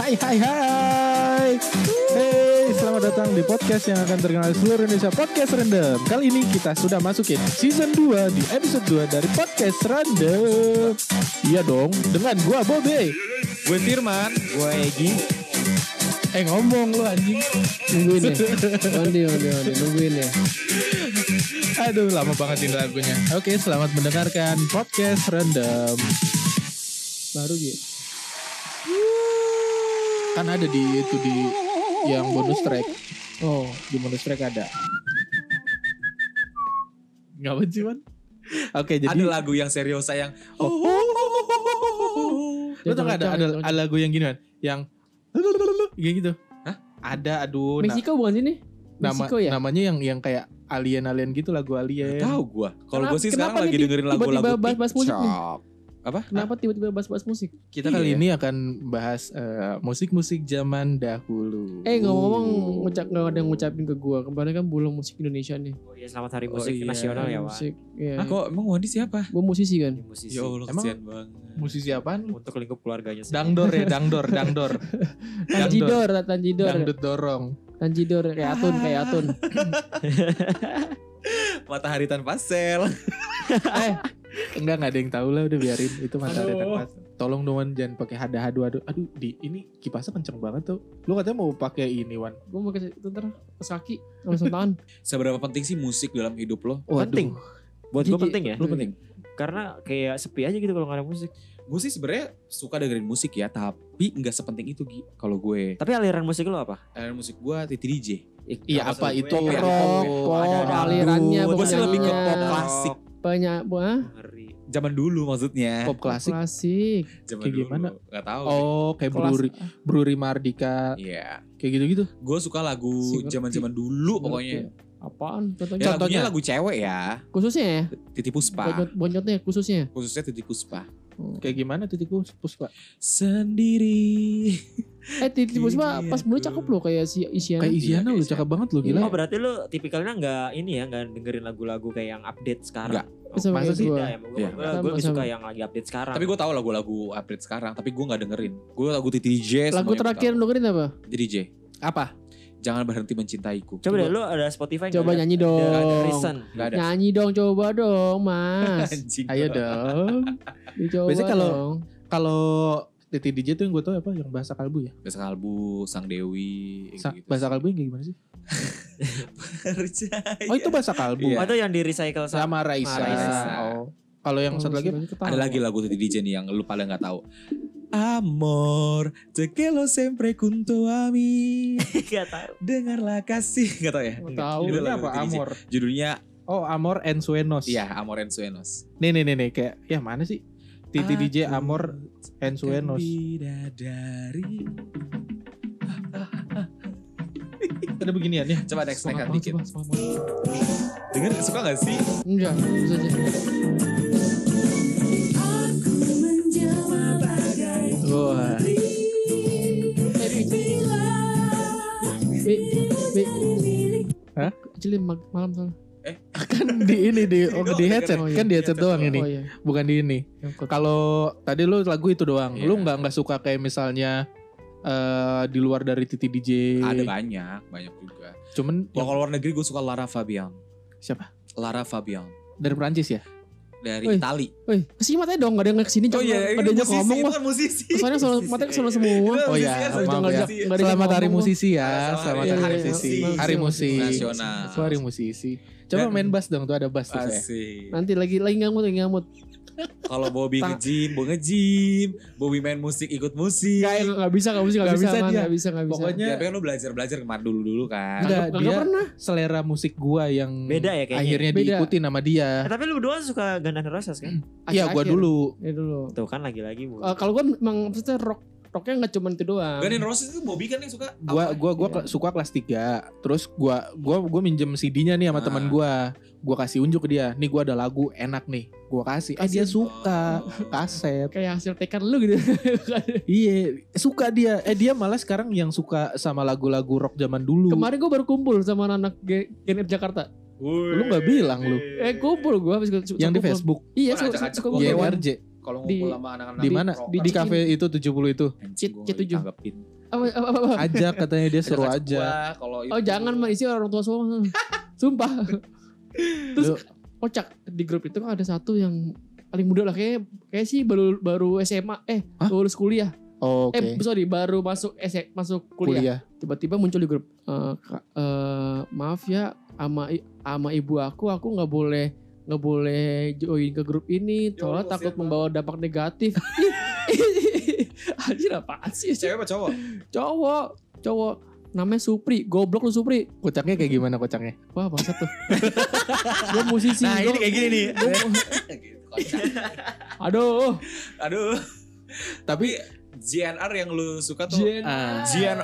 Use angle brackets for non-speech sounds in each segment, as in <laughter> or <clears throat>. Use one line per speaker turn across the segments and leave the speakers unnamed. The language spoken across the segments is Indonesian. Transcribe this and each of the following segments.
Hai hai hai Hey selamat datang di podcast yang akan terkenal di seluruh Indonesia Podcast Random Kali ini kita sudah masukin season 2 di episode 2 dari Podcast Random Iya dong dengan gua Bobe
Gue Firman
Gue Egi
Eh ngomong lu anjing
Nungguin ya Mandi mandi mandi Nungguin ya
Aduh lama banget ini lagunya Oke selamat mendengarkan Podcast Random
Baru gitu
Kan ada di itu di yang bonus track
Oh
Di bonus track ada Gak apa sih man Oke jadi
Ada lagu yang serius sayang
Oh. Lo tau gak ada, ada, ada lagu yang gini kan? Yang kayak gitu.
Hah?
Ada aduh. na-
Meksiko bukan sini
nama
Meksiko ya
namanya yang yang kayak alien-alien gitu lagu alien.
Tahu gue Kalau gue sih
Kenapa- kenapa
sekarang lagi
nih
dengerin lagu-lagu
tiba-tiba bahas-bahas musik nih?
TikTok. Apa?
Kenapa tiba-tiba bahas-bahas musik
Kita kali
Iya.
ini akan bahas eh, musik-musik zaman dahulu.
Eh ngomong-ngomong ngucap, Gak ada yang ngucapin ke gua Kemarin kan belum musik Indonesia nih
Oh iya, selamat hari
Oh
musik
iya.
nasional ya, Wak.
Musik
Ah,
Iya
kok emang Wandi siapa?
Gua musisi kan
Ini Musisi.
Ya Allah
Emang-
kesian banget
musisi apaan? lu?
Untuk lingkup keluarganya sih.
Dangdor ya, dangdor, dangdor. dangdor.
Tanjidor Tanjidor
Dangdut Ah. dorong.
Tanjidor Kayak Atun Kayak Atun
Matahari tanpa sel
Enggak enggak ada yang tahu lah udah biarin itu matahari
Aduh.
tanpa. Tolong dong Wan, jangan pakai hada-hadu aduh. Aduh, di ini kipasnya kenceng banget tuh. Lu katanya mau pakai ini Wan.
Gua mau kasih Itu ntar Pas kaki Langsung tangan
Seberapa penting sih musik dalam hidup lo?
Waduh.
Penting.
Buat gue penting ya.
Lo penting?
Karena kayak sepi aja gitu kalau gak ada musik.
Gue sih sebenarnya suka dengerin musik ya Tapi nggak sepenting itu Gi Kalau gue
Tapi aliran musik lo apa?
Aliran musik gue Titi DJ
Iya apa
maksud
itu
gue,
ya,
rock,
itu
pop,
Ada- ada
dangdut,
alirannya,
gua
Gue sih lebih ke pop
penyanyinya.
klasik
Banyak ah? Wah
Ngeri.
Zaman dulu maksudnya
pop klasik.
Klasik
Zaman
kayak gimana?
Gak tau
Oh, kayak
Kelas-
Bruri, Bruri Mardika,
Iya
kayak gitu-gitu.
Gue suka lagu
Single.
zaman-zaman dulu pokoknya.
Apaan
Ya,
Contohnya
Contohnya?
lagunya lagu cewek ya.
Khususnya ya
Titi Puspa.
Bonyot, bonyotnya khususnya.
Khususnya Titi Puspa.
Kayak gimana titiku puspa?
Sendiri.
Eh Titi Puspa
Iya,
pas dulu
tuh.
cakep loh kayak si Isyana.
Kayak
Iya,
Iziana
kayak
lu
Iziana.
cakep banget lu gila.
Oh berarti lo tipikalnya gak ini ya, gak dengerin lagu-lagu kayak yang update sekarang.
Nggak.
Oh,
masa
Sama kayak
sih?
gua.
Beda ya,
Iya.
gue gue lebih
Sama-sama.
suka yang lagi update sekarang.
<laughs> Tapi gue tahu lagu-lagu update sekarang. Tapi gue gak dengerin. Gue lagu Titi DJ.
Lagu
semuanya gua
terakhir
tahu.
dengerin apa?
Titi DJ.
Apa?
Jangan berhenti mencintaiku.
Coba deh lo ada Spotify nggak?
Coba
Ada-
nyanyi
ada- ada
dong.
Reason.
Gak ada.
Nyanyi dong coba dong
<laughs>
Mas.
<laughs> Anjing.
Ayo dong.
Dicoba
Biasanya kalau-
dong.
Kalau Titi DJ tuh yang gue tau apa? Yang bahasa kalbu ya?
Bahasa Kalbu, Sang Dewi. gitu.
Sa- bahasa kalbu yang kayak gimana sih?
Percaya.
Oh itu bahasa kalbu.
Iya.
Oh, itu yang di recycle <laughs> sama.
Sama Raisa.
Sama Raisa.
Oh. Kalau yang satu lagi
ketawa.
Ada lagi lagu Titi DJ nih yang lu pada gak tahu. Amor, te lo sempre junto a
<laughs>
mí.
Gak tau.
Dengarlah kasih. Gak tau ya?
Nggak tahu.
Judulnya
Judulnya
lagu
apa?
Titi DJ.
Amor.
Judulnya
Oh Amor and Suenos.
Iya, Amor and Suenos.
Nih nih nih nih kayak ya mana sih? Titi DJ
Aku
Amor and
Kan
Suenos.
Bidadari.
Ada beginian ya?
Coba next next
Semangat
dikit.
banget, semangat banget.
Dengar suka gak sih?
Enggak, bisa aja. Eh,
<laughs>
Wah.
Eh, Bi. Bi, Bi.
Hah?
Kecilin mag- malam soalnya.
Kan <laughs> di ini di oh, di headset
Oh, iya.
kan di headset doang ini,
Oh iya.
bukan di ini.
Yang kok-
Kalau tadi lu lagu itu doang,
Iya.
lu nggak nggak suka kayak misalnya eh di luar dari Titi DJ.
Ada banyak, banyak juga.
Cuman
Kalau luar negeri gue suka Lara Fabian.
Siapa?
Lara Fabian
dari Prancis ya?
dari
Wih.
Itali.
Wih, kasih matanya dong, gak ada yang kesini
Oh
coba
iya, ini
adanya
musisi,
ngomong
itu
wah.
kan musisi.
Soalnya selalu
Musisi.
matanya kesana semua.
Itu
Oh iya,
musisi,
maaf
harus
ya.
musisi.
Nggak ada yang
Selamat Hari
ngomong.
Musisi
Ah,
ya,
selamat
selamat
Hari
Hari
Musisi.
Musisi.
Iya,
Hari
iya,
Musisi.
Nasional.
Itu Hari Musisi. Coba
Dan-
main bass dong, tuh ada bass tuh saya.
Asik.
Nanti lagi lagi ngamut lagi ngamut.
Kalau Bobby
Ta-
nge-gym, gue nge-gym. Bobby main musik, ikut musik.
Gak gak bisa gak bisa gak
Nggak
bisa
bisa
Man.
dia.
nggak bisa gak bisa.
Pokoknya
Ya, tapi kan lu belajar-belajar kemarin dulu-dulu kan.
Enggak,
Nggak- nggak
dia
pernah.
selera musik gua yang
Beda ya kayaknya.
akhirnya
Beda.
diikuti nama
Eh,
dia.
tapi lu berdua suka Guns N' Roses kan?
Iya, gua
Akhir-akhir.
dulu.
Ya dulu.
Tuh kan lagi-lagi bu.
Eh, kalau gue emang maksudnya rock rocknya nggak cuma itu doang.
Guns N' Roses itu Bobby kan yang suka.
Gua
apa?
gua gua
Iya.
suka kelas 3. Terus gua gua gua minjem CD-nya nih sama
Ah.
teman gua. Gua kasih unjuk ke dia. Nih gua ada lagu enak nih. Gua kasih. Eh dia
Kasih.
suka
Oh.
kaset.
Kayak hasil tekan lu gitu.
Iya, suka dia. Eh dia malah sekarang yang suka sama lagu-lagu rock zaman dulu.
Kemarin gue baru kumpul sama anak G- GNR Jakarta.
Lu nggak bilang lu.
Eh kumpul gue habis gua- suka
yang di
kumpul.
Facebook
Iya,
Oh,
suka,
ajak-ajak
suka
gua.
kumpul.
YRJ.
kalau
Di-
ngumpul sama anak-anak
Di mana?
proker.
Di, di kafe itu 70 itu.
Anjing, gua nggak
C7.
ditanggepin.
Apa, apa, apa, apa?
Ajak katanya dia suruh
Ajak-ajak
aja.
gua, kalau
Oh
itu-
jangan mah isi orang tua semua. Sumpah. Terus kocak di grup itu kan ada satu yang paling muda lah kayak kayak sih baru baru SMA eh
Hah?
lulus kuliah.
Oh, Oke.
Eh sorry baru masuk S- masuk kuliah.
Kuliah.
Tiba-tiba muncul di grup "Eh, Kak, eh, maaf ya ama i- ama ibu aku aku nggak boleh nggak boleh join ke grup ini
Ya Allah,
soalnya takut
kasihan
membawa dampak negatif. <laughs> Anjir apaan sih?
Iya.
Cewek apa cowok?
Cowok, cowok namanya Supri, goblok lu Supri.
Kocaknya kayak gimana kocaknya?
Wah bangsa tuh <laughs> Gue musisi
Nah ini
gua-
kayak gini nih.
Gitu, kocak.
Aduh
Aduh.
Tapi
GNR yang lu suka tuh.
Jen
ah,
GNR.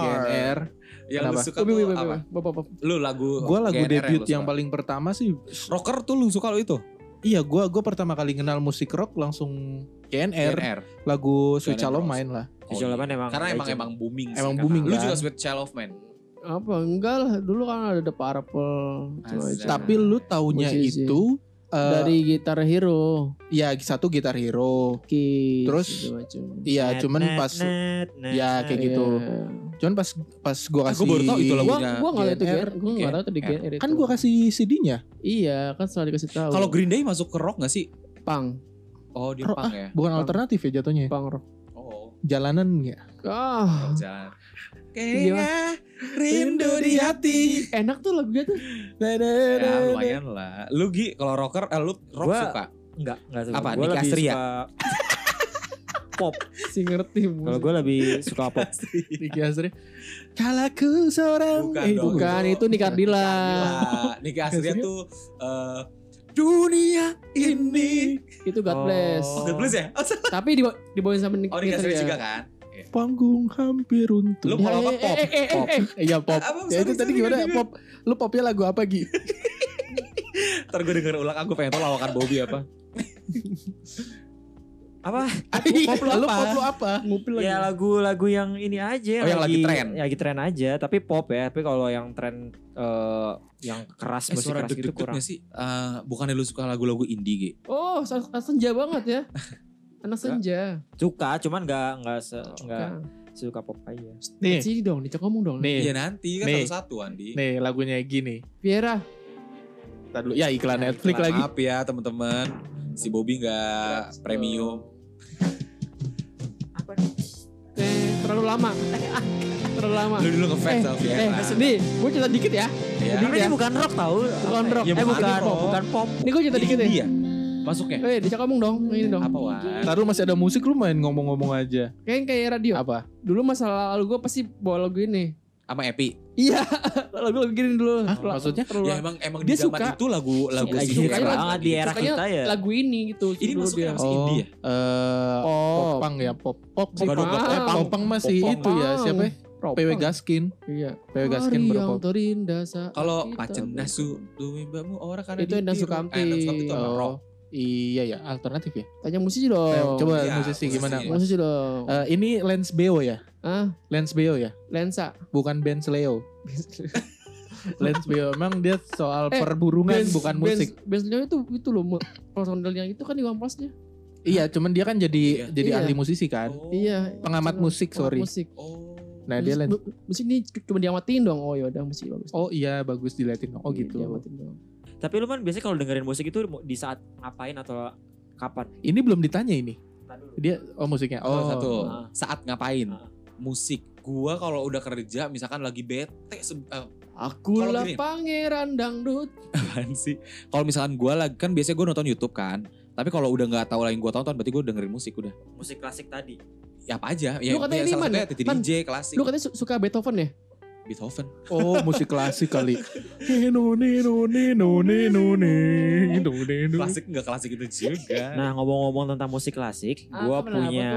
GNR.
Yang lu
Kenapa? Oh,
suka
Bapak
tuh
bapak
apa?
bapak bapak bapak
Lu lagu
Gue lagu
GNR
debut
lu
yang
suka.
paling pertama sih.
Rocker tuh lu suka lo itu?
Iya, gua gua pertama kali kenal musik rock langsung GNR.
GNR.
Lagu Sweet
Guns N' Iya,
Shalom
Roses.
main lah.
Jujur
iya.
lapan emang
Karena emang
legend.
emang booming sih.
Emang
Kakak.
booming
Lu
kan?
juga sweet child of man.
apa enggak lah dulu kan ada The Purple Coy.
Azan.
Tapi lu taunya
Musisi.
itu eh,
dari Gitar Hero
ya satu gitar hero.
Kiss,
Terus,
segala macam.
Iya,
Nah,
Net,
cuman
net,
pas
net, net,
ya
net.
kayak gitu.
Iya.
Cuman pas pas gua
Ah,
kasih
gua baru tahu itu
Gua
lagunya.
gua enggak tahu itu
GNR.
GNR, gua enggak tahu tadi GNR itu.
Iya. Kan gua kasih CD-nya,
Iya, kan selalu dikasih tahu.
Kalau Green Day masuk ke rock gak sih?
pang,
Oh dia
Rock, ah.
punk ya.
bukan
Bang.
alternatif ya jatuhnya.
pang rock.
Oh,
Jalanan ya.
Ah,
rock jalan.
Iya.
Kayaknya rindu di hati.
enak tuh lagunya tuh.
Ya lumayan lah. Lu Gi, kalau rocker, eh, lu rock
Gua-
suka?
Enggak, enggak suka.
Apa,
Gua
Nicky
lebih
Astria?
suka
Si ngerti.
Kalau gue lebih suka pop.
Niki Astri. Kalau ku Iya, seorang
Bukan
eh,
dong.
bukan.
bukan itu Nika Ardila.
Gila, Niki Astria
Astria.
tuh eh, dunia ini.
Itu God bless.
Oh,
Oh.
God bless ya? Oh,
Tapi dibaw- dibawain sama Nick
oh Niki Astria juga kan?
panggung hampir
Lu
runtuh.
kalau apa
Eh,
pop?
eh, eh, eh,
Pop.
eh.
Iya pop.
Apa,
ya itu
sorry,
tadi
sorry,
gimana
sorry.
pop? Lu popnya lagu apa Gi?
Ntar gue denger ulang, aku pengen tau lawakan Bobby apa.
Apa?
pop lu
Lu
apa?
pop lu apa?
Ngupil lagi.
Ya lagu-lagu yang ini aja.
Oh, yang lagi tren.
ya, lagi tren aja. Tapi pop ya. Tapi kalau yang tren eh, yang keras
Eh,
musik
suara
keras gitu
deg-degan
kurang.
gak sih? Eh, bukannya lu suka lagu-lagu indie, Gi?
Oh, sa- anak senja banget
<laughs>
ya. Anak senja.
Suka, cuman nggak nggak se, nggak
Kang.
suka pop aja.
Nih.
Sini dong, dicek ngomong dong.
Nih,
Iya nanti, kan
Nih.
satu-satu, Andi.
nih lagunya gini.
Viera.
Ntar dulu. Ya iklan
Ya,
Netflix
iklan
lagi.
Maaf ya teman-teman, si Bobby nggak premium.
Eh, terlalu lama. terlalu lama.
Lu dulu ngefans sama Viera.
Eh, nih, gue cerita dikit ya.
Ya.
Tapi
Ya.
ini bukan rock tau.
Bukan rock.
Eh,
bukan
bukan,
rock.
bukan pop.
Ini gue cerita dikit ya.
Iya. Masuknya.
Eh, dicek ngomong dong. Ini dong.
Apa Wan?
Ntar lu masih ada musik lu main ngomong-ngomong aja.
Kayaknya kayak radio.
Apa?
Dulu masa lalu gue pasti bawa lagu ini.
Sama Epi.
<laughs>
Iya, lagu lagu gini dulu.
Hah,
Lagu-
maksudnya?
terlalu
Ya
lama.
emang emang
Dia
di zaman
suka. Iya,
itu lagu lagu si
Lagi hits
Viera
Sukanya
banget di era
sukanya
kita ya.
lagu ini gitu.
Ini
dulu
masuknya
dia.
masih indie ya?
Eh
Oh,
Popang ya, pop pop sih.
Bukan
Popang.
Eh, Popang masih
Popang.
itu ya, siapa? ya?
Ropang.
PW Gaskin.
Iya.
PW Gaskin Eh,
Hari yang
berpop.
terindah saat
Kalau
kita
Pacen Nasu Dumimbamu orang karena
Gitu. Itu Endang
ditiru.
Sukamti.
Eh, Endang Sukamti itu apa?
Oh,
Rock.
Iya ya, alternatif ya.
Tanya musisi dong.
Eh, Coba
Iya,
musisi
musisi.
gimana? Mas-
Oh, musisi ya. dong.
Eh, ini Lens Beo ya?
Ah,
Lens Beo ya?
lensa.
Bukan Benz Leo. Lens Beo emang dia soal
<laughs> Eh,
perburungan bukan musik.
Bensley itu itu loh mu- personel yang itu kan di Wamplesnya.
Iya, cuman dia kan jadi
Iya.
jadi
Iya.
ahli musisi kan.
Oh.
Iya.
Pengamat
Personel-
musik,
pengamat
sorry.
Musik.
Oh.
Nah, dia Lens.
Bu- musik ini c- cuma diamatin dong. Oh ya udah musik bagus.
Oh iya, bagus diliatin. Oh
Iya,
gitu.
Diamatin dong.
Tapi lu kan biasanya kalau dengerin musik itu mau- di saat ngapain atau kapan?
Ini belum ditanya ini.
Ntar dulu.
Dia oh musiknya.
Oh,
Oh,
satu.
Ah.
Saat ngapain?
Ah.
Musik. Gua kalau udah kerja misalkan lagi bete se- eh, Kalau
Akulah
gini.
pangeran dangdut.
apaan sih? Kalau misalkan gua lagi kan biasanya gua nonton YouTube kan. Tapi kalau udah nggak tahu lagi gua tonton berarti gua dengerin musik udah.
Musik klasik tadi.
Ya apa aja? Ya,
Lu katanya
ya
ini,
salah
Man,
satunya Titi
Man,
DJ klasik.
Lu katanya su- suka Beethoven ya?
Beethoven.
Oh, musik klasik
<laughs>
kali. Neno neno neno neno neno neno.
Klasik nggak klasik itu juga.
Nah ngomong-ngomong tentang musik klasik,
Ah,
gua
kenapa
punya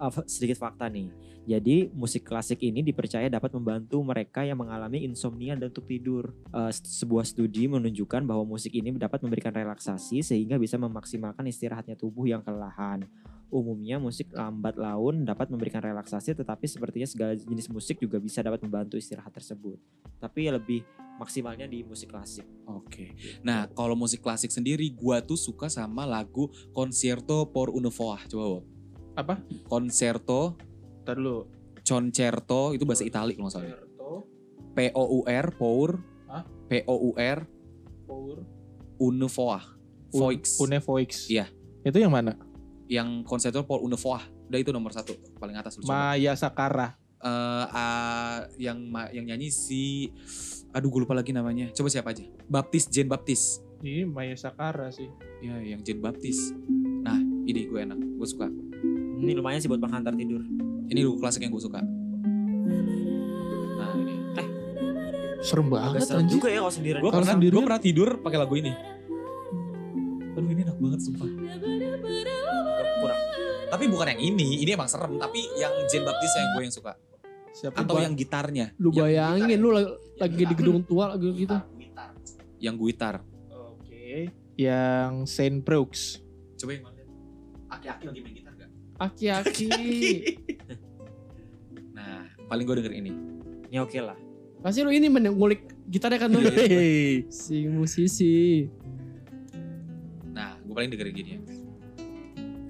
uh, fa- sedikit fakta nih. Jadi musik klasik ini dipercaya dapat membantu mereka yang mengalami insomnia dan untuk tidur. Uh, s- sebuah studi menunjukkan bahwa musik ini dapat memberikan relaksasi sehingga bisa memaksimalkan istirahatnya tubuh yang kelelahan. Umumnya musik lambat laun dapat memberikan relaksasi tetapi sepertinya segala jenis musik juga bisa dapat membantu istirahat tersebut. Tapi ya lebih maksimalnya di musik klasik.
Oke. Nah, kalau musik klasik sendiri gua tuh suka sama lagu Concerto por una voix. Coba, Bob.
Apa?
Concerto,
Ntar dulu.
concerto itu bahasa Itali kalau nggak salah.
Concerto,
P O U R, pour.
Hah?
P O U R,
Pour,
una voix.
Un-
Voix.
Unevoix.
Iya.
Itu yang mana?
yang Concerto por una voix. Udah itu nomor satu paling atas lu coba.
Maya Sakara.
Eh, ah, yang ma- yang nyanyi si aduh gue lupa lagi namanya. Coba siapa aja? Baptis, Jane Baptis.
Ini Maya Sakara sih.
Ya, yang Jane Baptis. Nah, ini gue enak, gue suka.
Ini lumayan sih buat penghantar tidur.
Ini lagu klasik yang gue suka. Nah, ini.
Serem banget anjir.
juga ya kalau sendirian.
Gue
Kalau
pernah,
sendirian-
gua pernah tidur pakai lagu ini. Aduh ini enak banget sumpah.
kurang.
Tapi bukan yang ini, ini emang serem. Tapi yang Jane Baptis yang gue yang suka.
Siapa
Atau
Ba-
yang gitarnya,
Lu bayangin lu lagi,
ya.
lagi di gedung tua lagi gitu.
<laughs> yang guitar.
Oke. Yang Saint Brooks.
Coba yang mana? Aki-aki lagi main gitar gak?
Aki-aki.
Nah, paling gue denger ini.
Ya oke lah.
Pasti lu ini men- ngulik gitarnya kan lu.
<laughs>
Hei.
si musisi.
Nah, gue paling dengerin gini ya.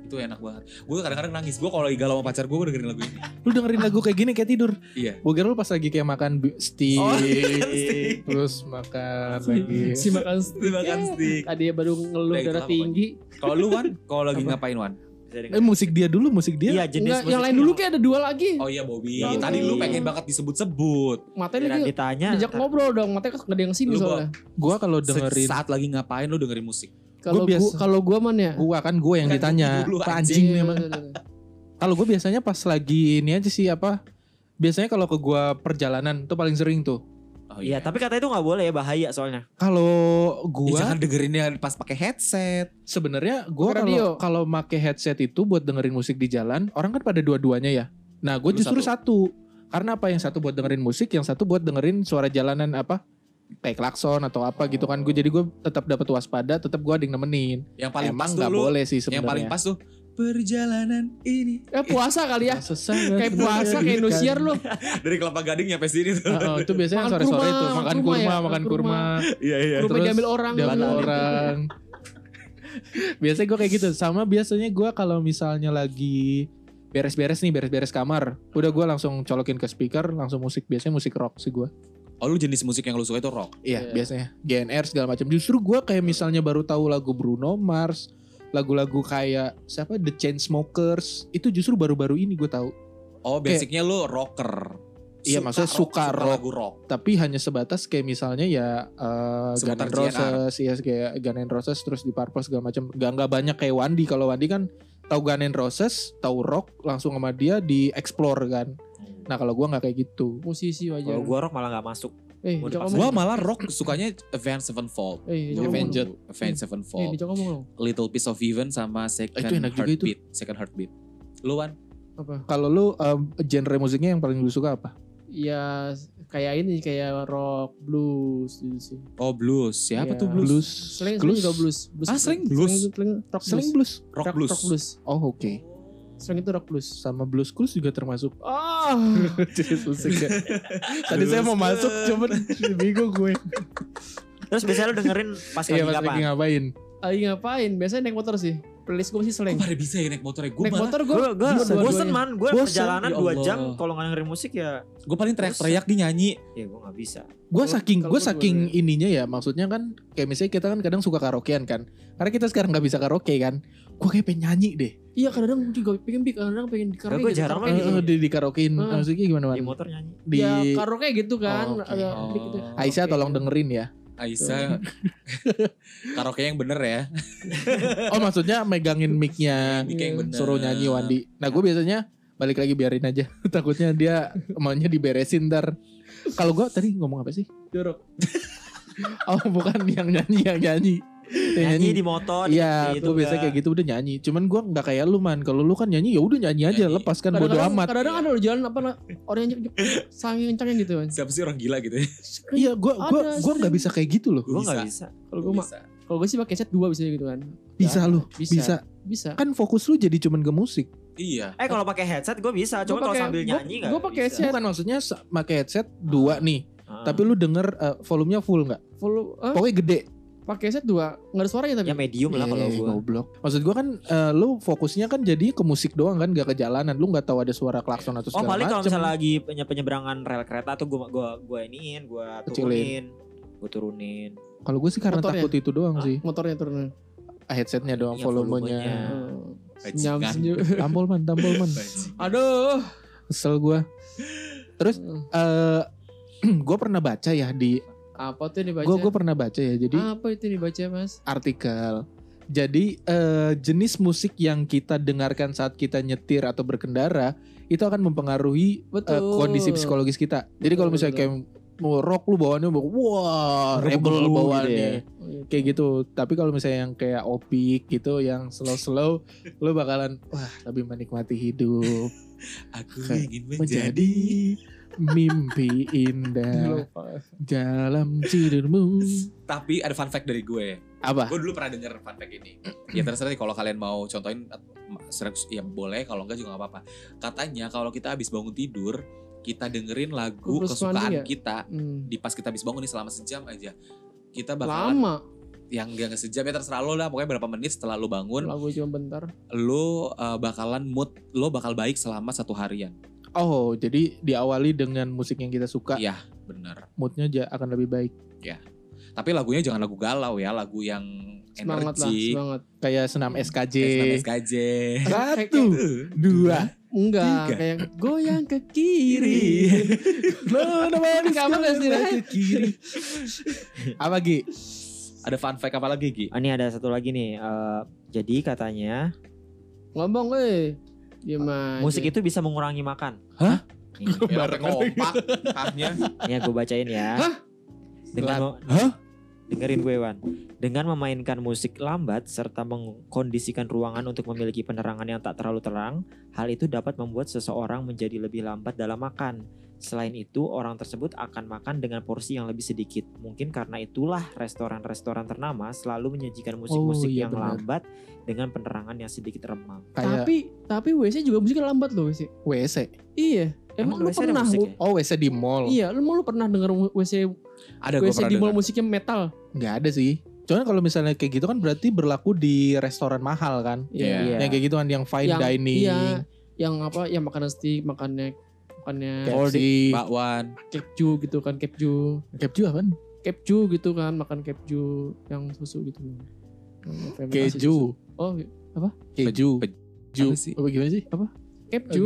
Itu enak banget. Gue kadang-kadang nangis. Gue kalau lagi galau sama pacar gue, gue dengerin lagu ini.
Lu dengerin lagu kayak gini kayak tidur.
Iya.
Gue kira lu pas lagi kayak makan bi- steak,
Oh, <laughs> iya, steak.
terus makan lagi.
Si makan stick.
makan stick.
Tadi ya baru ngeluh
Udah, itu
darah
lah
tinggi.
Kalau lu Wan, kalau lagi
Apa?
ngapain Wan?
Bisa
Eh
dengar.
musik dia dulu, musik dia.
Iya jenis
Enggak, yang
musik
lain
itu
dulu
yang-
kayak ada dua lagi.
Oh iya Bobby,
Bobby.
tadi lu pengen banget disebut-sebut.
Matanya
Giliran
lagi
ditanya.
diajak
ntar-
ngobrol dong, matanya gak ada yang sini
Lu,
soalnya.
Gua kalau dengerin
Saat lagi ngapain lu dengerin musik.
Kalau
biasa-
gua kalau gua man ya. Iya,
gua kan gue yang
Bukan
ditanya
dulu,
Pak
anjing.
anjing nih emang. Kalau gue biasanya pas lagi ini aja sih apa? Biasanya kalau ke gua perjalanan tuh paling sering tuh.
Oh
Iya tapi kata itu nggak boleh ya bahaya soalnya.
Kalau
Ya,
gua
jangan dengerinnya pas pakai headset.
sebenarnya gua
Pakai
kalau
radio.
kalau make headset itu buat dengerin musik di jalan, orang kan pada dua-duanya ya. Nah, gue
Lu
justru satu. Karena apa yang satu buat dengerin musik, yang satu buat dengerin suara jalanan apa? Kayak klakson atau apa gitu kan. Gue jadi gue tetap dapat waspada, tetap gue ada yang nemenin.
Yang Oh. paling
Emang
pas tuh
nggak
lu-
boleh sih
Yang
sebenarnya.
paling pas tuh perjalanan ini
Eh puasa kali
<laughs>
ya. Kayak
kayak
puasa kayak Indosiar lu.
Ah, dari Kelapa Gading nyampe sini tuh.
itu biasanya
Makan
sore-sore
kurma,
itu makan
makan kurma
kurma,
ya,
makan
makan
kurma,
Iya iya.
Rumah
Terus
diambil orang.
diambil
Gitu.
orang. <laughs> biasanya gue kayak gitu. Sama biasanya gue kalau misalnya lagi beres-beres nih, beres-beres kamar, udah gue langsung colokin ke speaker, langsung musik. Biasanya musik rock sih gue.
Oh lu jenis musik yang lu suka itu rock.
Iya,
Iya.
biasanya GNR segala macam. Justru gue kayak misalnya baru tahu lagu Bruno Mars, lagu-lagu kayak siapa The Chainsmokers, itu justru baru-baru ini gue tahu.
Oh basicnya lu rocker.
Iya, maksudnya suka rock.
lagu rock.
tapi hanya sebatas kayak misalnya ya uh, Gun
Seputar
N' Roses ya kayak Gun N' Roses terus di Purpose segala macam gak nggak banyak kayak Wandi kalau Wandi kan tahu Gun N' Roses tahu rock langsung sama dia di explore kan nah kalau gua nggak kayak gitu
Musisi wajar.
Kalau gua rock malah nggak masuk.
eh,
gua
dijak
dipaksa.
Gua
ngomong.
malah rock sukanya Avenged Sevenfold.
Eh, dijak ngomong
Avenged.
dong.
Avenged
Eh,
Sevenfold.
dijak ngomong dong.
Little Piece of Heaven sama Second
Iya, Ah, Itu enak juga itu.
Heartbeat. Second Heartbeat. Lu Wan?
Apa?
kalau lu um, genre musiknya yang paling lu suka apa
Ya kayak ini kayak rock blues gitu sih.
Oh blues. Siapa
Iya.
tuh blues?
Slang slang juga blues. blues
Ah, slang blues?
Slang, slang rock
Slang
blues.
blues
Rock, blues.
Rock blues.
oh oke
Slang itu rock blues.
sama blues cruise juga
<laughs>
termasuk
Oh,
jenis musiknya tadi saya mau
Blues
masuk cuman <laughs> bingung gue
Terus biasanya lu dengerin pas lagi
iya pas lagi
kapan?
ngapain
lagi ngapain? Biasanya naik motor sih. Playlist gue sih
Kok
slang.
pada bisa ya naik motornya? Gue
Naik motor gue.
Gue gue
bisa dua-duanya.
bosen man, gue
Bosen,
perjalanan
ya
2
Allah.
jam kalau nggak dengerin musik ya,
gue paling teriak-teriak dia nyanyi.
ya gue nggak bisa.
Gue
Kalau-
saking
kalau
gue
gua
saking ininya ya maksudnya kan kayak misalnya kita kan kadang suka karaokean kan karena kita sekarang nggak bisa karaoke kan gue kayak pengen nyanyi deh
Iya kadang-kadang juga pengen big, kadang-kadang pengen di karaoke.
Gua jarang
karaoke
banget
Eh,
gitu.
di, di karaokein
Heeh.
maksudnya gimana
Di
Wan?
motor nyanyi.
di
Ya karaoke gitu kan.
Oh, oke.
Ada
Oh.
big gitu.
Aisyah
Oke.
tolong dengerin ya
Aisyah <laughs> karaoke yang bener ya.
oh maksudnya
<laughs>
megangin micnya
Ini kayak yang bener.
suruh nyanyi Wandi nah gue biasanya balik lagi biarin aja <laughs> takutnya dia maunya diberesin ntar kalau gue tadi ngomong apa sih
Jorok.
oh bukan yang nyanyi yang nyanyi yang
Nyanyi di motor. kan.
Iya,
di- di
gue biasanya kayak gitu udah nyanyi. Cuman gua nggak kayak lu man. Kalau lu kan nyanyi ya udah nyanyi aja,
Nyanyi.
lepas kan bodo
Kadang-kadang-
amat.
Kadang-kadang ada loh jalan apa lah, orang yang saking kencangnya gitu kan.
Siapa sih orang gila gitu ya?
Iya, gua gua
Ada
gua nggak bisa kayak gitu loh.
Gue nggak bisa.
Kalau gue mah, kalau gue sih pakai set dua bisa gitu kan.
Bisa lu,
Bisa.
bisa.
bisa.
Kan fokus lu jadi cuman ke musik.
Iya.
Eh kalau pakai headset gue bisa,
Gua
cuma kalau
pakai-
sambil
gua-
nyanyi nggak.
Gue pakai
bisa.
headset.
Bukan maksudnya sa- pakai headset dua nih,
Ah.
tapi lu denger eh, volumenya full nggak?
Follow, eh,
Pokoknya gede.
pakai headset dua, nggak ada suaranya tapi.
ya medium lah kalau
Eh,
gue.
goblok. Maksud gua kan eh, lu fokusnya kan jadi ke musik doang kan gak ke jalanan. Lu nggak tahu ada suara klakson atau
Oh
segala
paling kalau
macem.
misalnya lagi penye- penyeberangan rel kereta tuh gue gua gua iniin, gue
Kecilin.
turunin, gue turunin.
Kalau gue sih karena
Motor ya?
takut itu doang
Hah?
sih. Ah,
Motornya turun. Hmm.
Headsetnya doang
Ah. Iya,
volumenya.
volumenya.
Senyum
Bajingan.
senyum.
<laughs> Tampol man, tampol man.
Aduh.
Kesel gue. Terus- Eh <clears throat> gue pernah baca ya di
apa tuh yang dibaca?
gue gue pernah baca ya jadi
apa itu yang dibaca mas?
artikel. Jadi eh, jenis musik yang kita dengarkan saat kita nyetir atau berkendara itu akan mempengaruhi eh,
Betul.
kondisi psikologis kita. Jadi kalau
Betul,
misalnya kayak mau rock lu bawaannya wah rebel
Gitu
bawaannya
Oh, iya.
kayak
<laughs>
gitu. Tapi kalau misalnya yang kayak opik gitu yang slow-slow lu bakalan wah lebih menikmati
<laughs>
hidup,
Aku
Kayak
ingin menjadi.
menjadi mimpi indah dalam tidurmu.
Tapi ada fun fact dari gue.
Apa?
Gue dulu pernah denger fun fact ini. Ya terserah nih kalau kalian mau contohin serius ya boleh kalau enggak juga nggak apa-apa. Katanya kalau kita habis bangun tidur, kita dengerin lagu
Terus mandi
kesukaan
ya?
kita
Hmm.
di pas kita habis bangun nih selama sejam aja. Kita bakalan
Lama.
yang gak sejam ya terserah lo lah pokoknya berapa menit setelah lo bangun
Lagu cuma bentar.
lo uh, bakalan mood lo bakal baik selama satu harian.
Oh, jadi diawali dengan musik yang kita suka,
Iya, bener.
moodnya ja- akan lebih baik.
Tapi lagunya jangan lagu galau ya, lagu yang
Semangat lah,
energi.
semangat.
Kayak senam SKJ.
Kayak SKJ.
Satu, dua,
Enggak,
Tiga.
kayak goyang ke kiri. <laughs>
menemani
Kamu gak sih, Ray?
ke kiri. <laughs> Apa Gi?
Ada fun fact apa lagi Gi?
Ah, Ini ada satu lagi nih. eh, jadi katanya
Ngomong, eh. Gimana?
musik itu bisa mengurangi makan.
Hah? <laughs>
Nih,
Ya, sampai kompak tahnya.
ini gue bacain ya.
Hah?
Dengan
Selat.
mem-
Hah?
Dengerin gue Wan. Dengan memainkan musik lambat serta mengkondisikan ruangan untuk memiliki penerangan yang tak terlalu terang, hal itu dapat membuat seseorang menjadi lebih lambat dalam makan. Selain itu, orang tersebut akan makan dengan porsi yang lebih sedikit. Mungkin karena itulah restoran-restoran ternama selalu menyajikan musik-musik
Oh, iya
yang
benar.
lambat dengan penerangan yang sedikit remang.
Kayak
Tapi, tapi WC juga musiknya lambat loh WC.
WC.
Iya. Emang, lu
WC ada
pernah?
musik
mu-
ya?
Oh, WC di mall.
Iya, lu mau lu pernah denger WC
Ada gue
WC
pernah
di mall
dengar.
musiknya metal?
Nggak ada sih. Cuman kalau misalnya kayak gitu kan berarti berlaku di restoran mahal kan?
Iya.
Iya.
Yang kayak gitu kan yang fine
Yang-
dining.
Iya, yang apa? Yang makanan steak, makannya makannya
KFC.
Bakwan.
kepju gitu kan, kepju.
Keju apa?
Kepju gitu kan, makan kepju yang susu gitu. Yang fermentasi susu.
Keju.
Oh,
Keju.
Pe- pe-
Keju.
apa sih?
Apa gimana sih? Apa? Oh, iya.
kepju.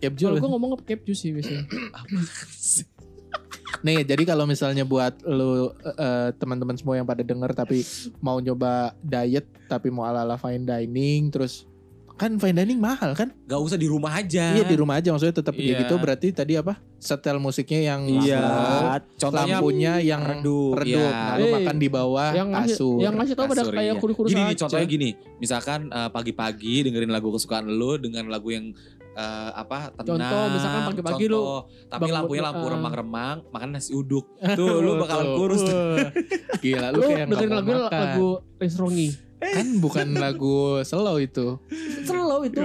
Keju.
Kalau gua ngomong kepju sih biasanya.
Apa sih? <laughs>
Nih, jadi kalau misalnya buat lu eh, teman-teman semua yang pada denger tapi mau nyoba diet tapi mau ala-ala fine dining terus kan fine dining mahal kan?
Gak usah di rumah aja.
Iya di rumah aja maksudnya tetap kayak
Iya.
gitu berarti tadi apa? Setel musiknya yang
Iya.
slow,
Lambat,
Contohnya
lampunya yang redup,
redup.
Iya.
nah, lu
Eh,
makan di bawah
yang ngasih
kasur.
yang ngasih tau pada
Kasur,
kayak
iya.
kuru-kuru
Gini nih
aja.
contohnya gini, misalkan eh, pagi-pagi dengerin lagu kesukaan lu dengan lagu yang eh, apa tenang.
Contoh, misalkan pagi-pagi lu
contoh. tapi
bangun-
lampunya lampu
eh.
remang-remang, makan nasi uduk.
<laughs>
Tuh lu
Tuh.
bakalan kurus. tuh.
Gila lu
Lu
kayak nggak
dengerin
mau
lagu
makan.
lagu Resrongi.
Kan bukan lagu slow itu.
Selau itu.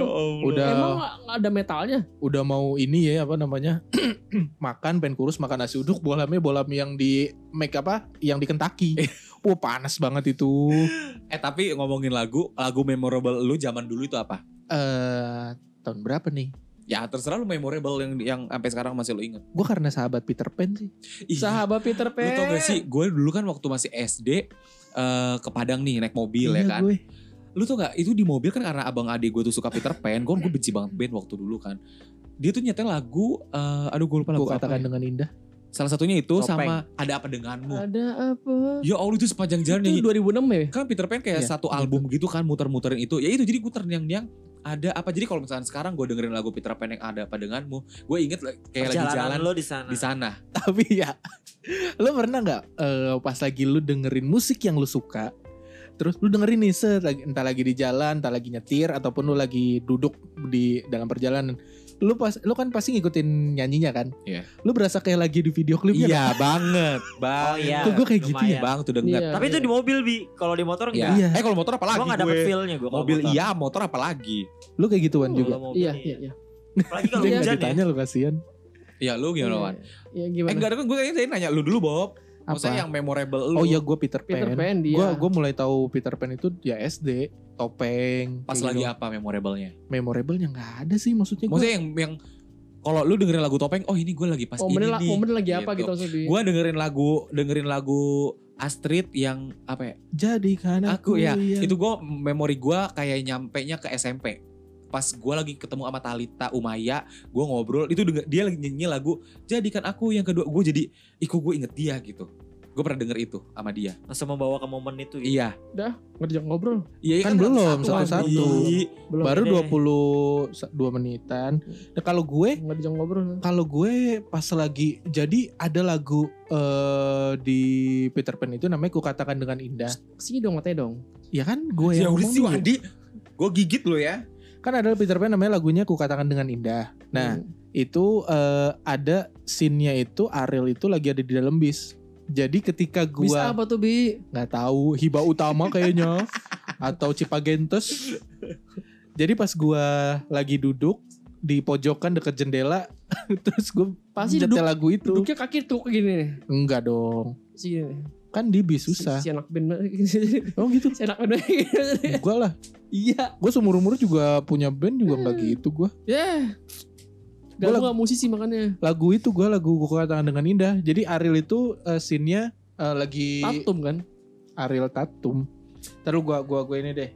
Udah
Emang nggak ada metalnya?
udah mau ini ya apa namanya? <clears throat> makan pengen kurus makan nasi uduk bolamnya bolam yang di make apa yang di
<laughs>
Kentucky. Wah panas banget itu.
Eh tapi ngomongin lagu, lagu memorable lu zaman dulu itu apa?
Eh tahun berapa nih?
Ya terserah lu memorable yang yang sampai sekarang masih lu inget.
Gue karena sahabat Peter Pan sih.
Ih,
Sahabat Peter
Lu
Pan.
tau gak sih, gue dulu kan waktu masih SD eh, ke Padang nih naik mobil
Mhm.
ya
Iya,
kan.
gue.
Lu tau gak, itu di mobil kan karena abang adik gue tuh suka Peter Pan, gue gue benci banget band waktu dulu kan. Dia tuh nyetel lagu, eh, aduh gue lupa lagu
Gue
apa
katakan
ya.
dengan indah.
Salah satunya itu
Topeng.
sama Ada Apa Denganmu.
Ada apa?
Ya Allah itu sepanjang jalan
Itu 2006 ya?
nyanyi. Kan Peter Pan kayak
Iya,
satu
betul.
album gitu kan muter-muterin itu. Ya itu jadi gue terngiang-ngiang ada apa. Jadi kalau misalkan sekarang gue dengerin lagu Peter Pan yang Ada Apa Denganmu, gue inget lah- kayak lagi
Perjalanan
jalan
lo di sana.
di sana.
Tapi ya, lo pernah nggak eh, pas lagi lu dengerin musik yang lu suka, terus lu dengerin nih set, lagi- entah lagi di jalan, entah lagi nyetir, ataupun lu lagi duduk di dalam perjalanan, lu pas lu kan pasti ngikutin nyanyinya kan?
Iya.
Lu berasa kayak lagi di video klipnya.
Iya <laughs> banget, bang.
Oh iya.
Tuh, gua kayak
ya?
gitu
lumayan.
Bang tuh denget.
Iya.
Tapi itu di mobil bi. Kalau di motor
Iya.
enggak.
Iya.
Eh kalau motor apa lagi
Gua enggak dapet
gue?
feel-nya gua. kalau
Mobil
motor.
iya, motor apa lagi?
Lu kayak gituan
Kalau
juga.
mobil
Iya, iya, iya.
Apalagi kalau
Dia
Oh, hujan
nggak
ya.
ditanya lu kasihan.
Ya lu
Iya,
gimana Wan?
Iya,
Eh
gimana?
enggak ada kan gue kayaknya tadi nanya lu dulu Bob. Maksudnya
Apa?
yang memorable lu.
Oh iya gue Peter
Peter
Pan.
Pan iya. dia.
Gue gue mulai tahu Peter Pan itu ya SD topeng.
Pas
kayak
lagi
gitu.
apa memorable-nya?
Memorable-nya nggak ada sih maksudnya. gua.
Maksudnya yang yang kalau lu dengerin lagu topeng, oh ini gue lagi pas
Momennya
ini
la-
nih.
momennya lagi apa gitu
Gitu.
maksudnya di.
Gue dengerin lagu dengerin lagu Astrid yang apa ya?
jadi kan
Aku ya. Itu gue memori gue kayak nyampe nya ke SMP. Pas gue lagi ketemu sama Talita Umaya, gue ngobrol itu denger- dia lagi nyanyi lagu jadikan aku yang kedua gue jadi iku gue inget dia gitu. Gue pernah denger itu sama dia.
Langsung membawa ke momen itu gitu.
Iya.
Ngajak ngobrol.
Iya
Kan belum, satu-satu.
Andi.
Belum.
baru
deh.
22 menitan. Nah, kalau gue
Ngajak ngobrol.
kalau gue pas lagi jadi ada lagu eh di Peter Pan itu namanya ku katakan dengan indah.
Kesini dong matanya dong.
Ya kan gue yang
Ya udah
ngomong
sih
dulu.
Wandi. Gue gigit lo ya.
Kan ada Peter Pan namanya lagunya ku katakan dengan indah. Nah,
Hmm.
itu eh, ada scene-nya itu Ariel itu lagi ada di dalam bis. Jadi ketika
bisa
gua
apa tuh Bi?
nggak tahu Hiba Utama kayaknya atau Cipagentes. Jadi pas gua lagi duduk di pojokan deket jendela <laughs> terus gue
Pasti
nyetel
duduk,
lagu itu.
duduknya kaki tuh kayak gini nih.
Enggak dong.
Segini.
Kan di bis
Si-
susah.
Si anak band. <laughs> Si
Oh gitu.
anak band. <laughs>
Gua lah.
Iya. Hmm.
Gue seumur-umur juga punya band juga nggak gitu gua.
Ya.
Gua
Gak
lagu-
gak musisi makanya.
Lagu itu gua lagu Ku Katakan Dengan Indah. Jadi Ariel itu eh, scene-nya eh, lagi
Tatum kan.
Ariel Tatum. Terus gua gua gua ini deh.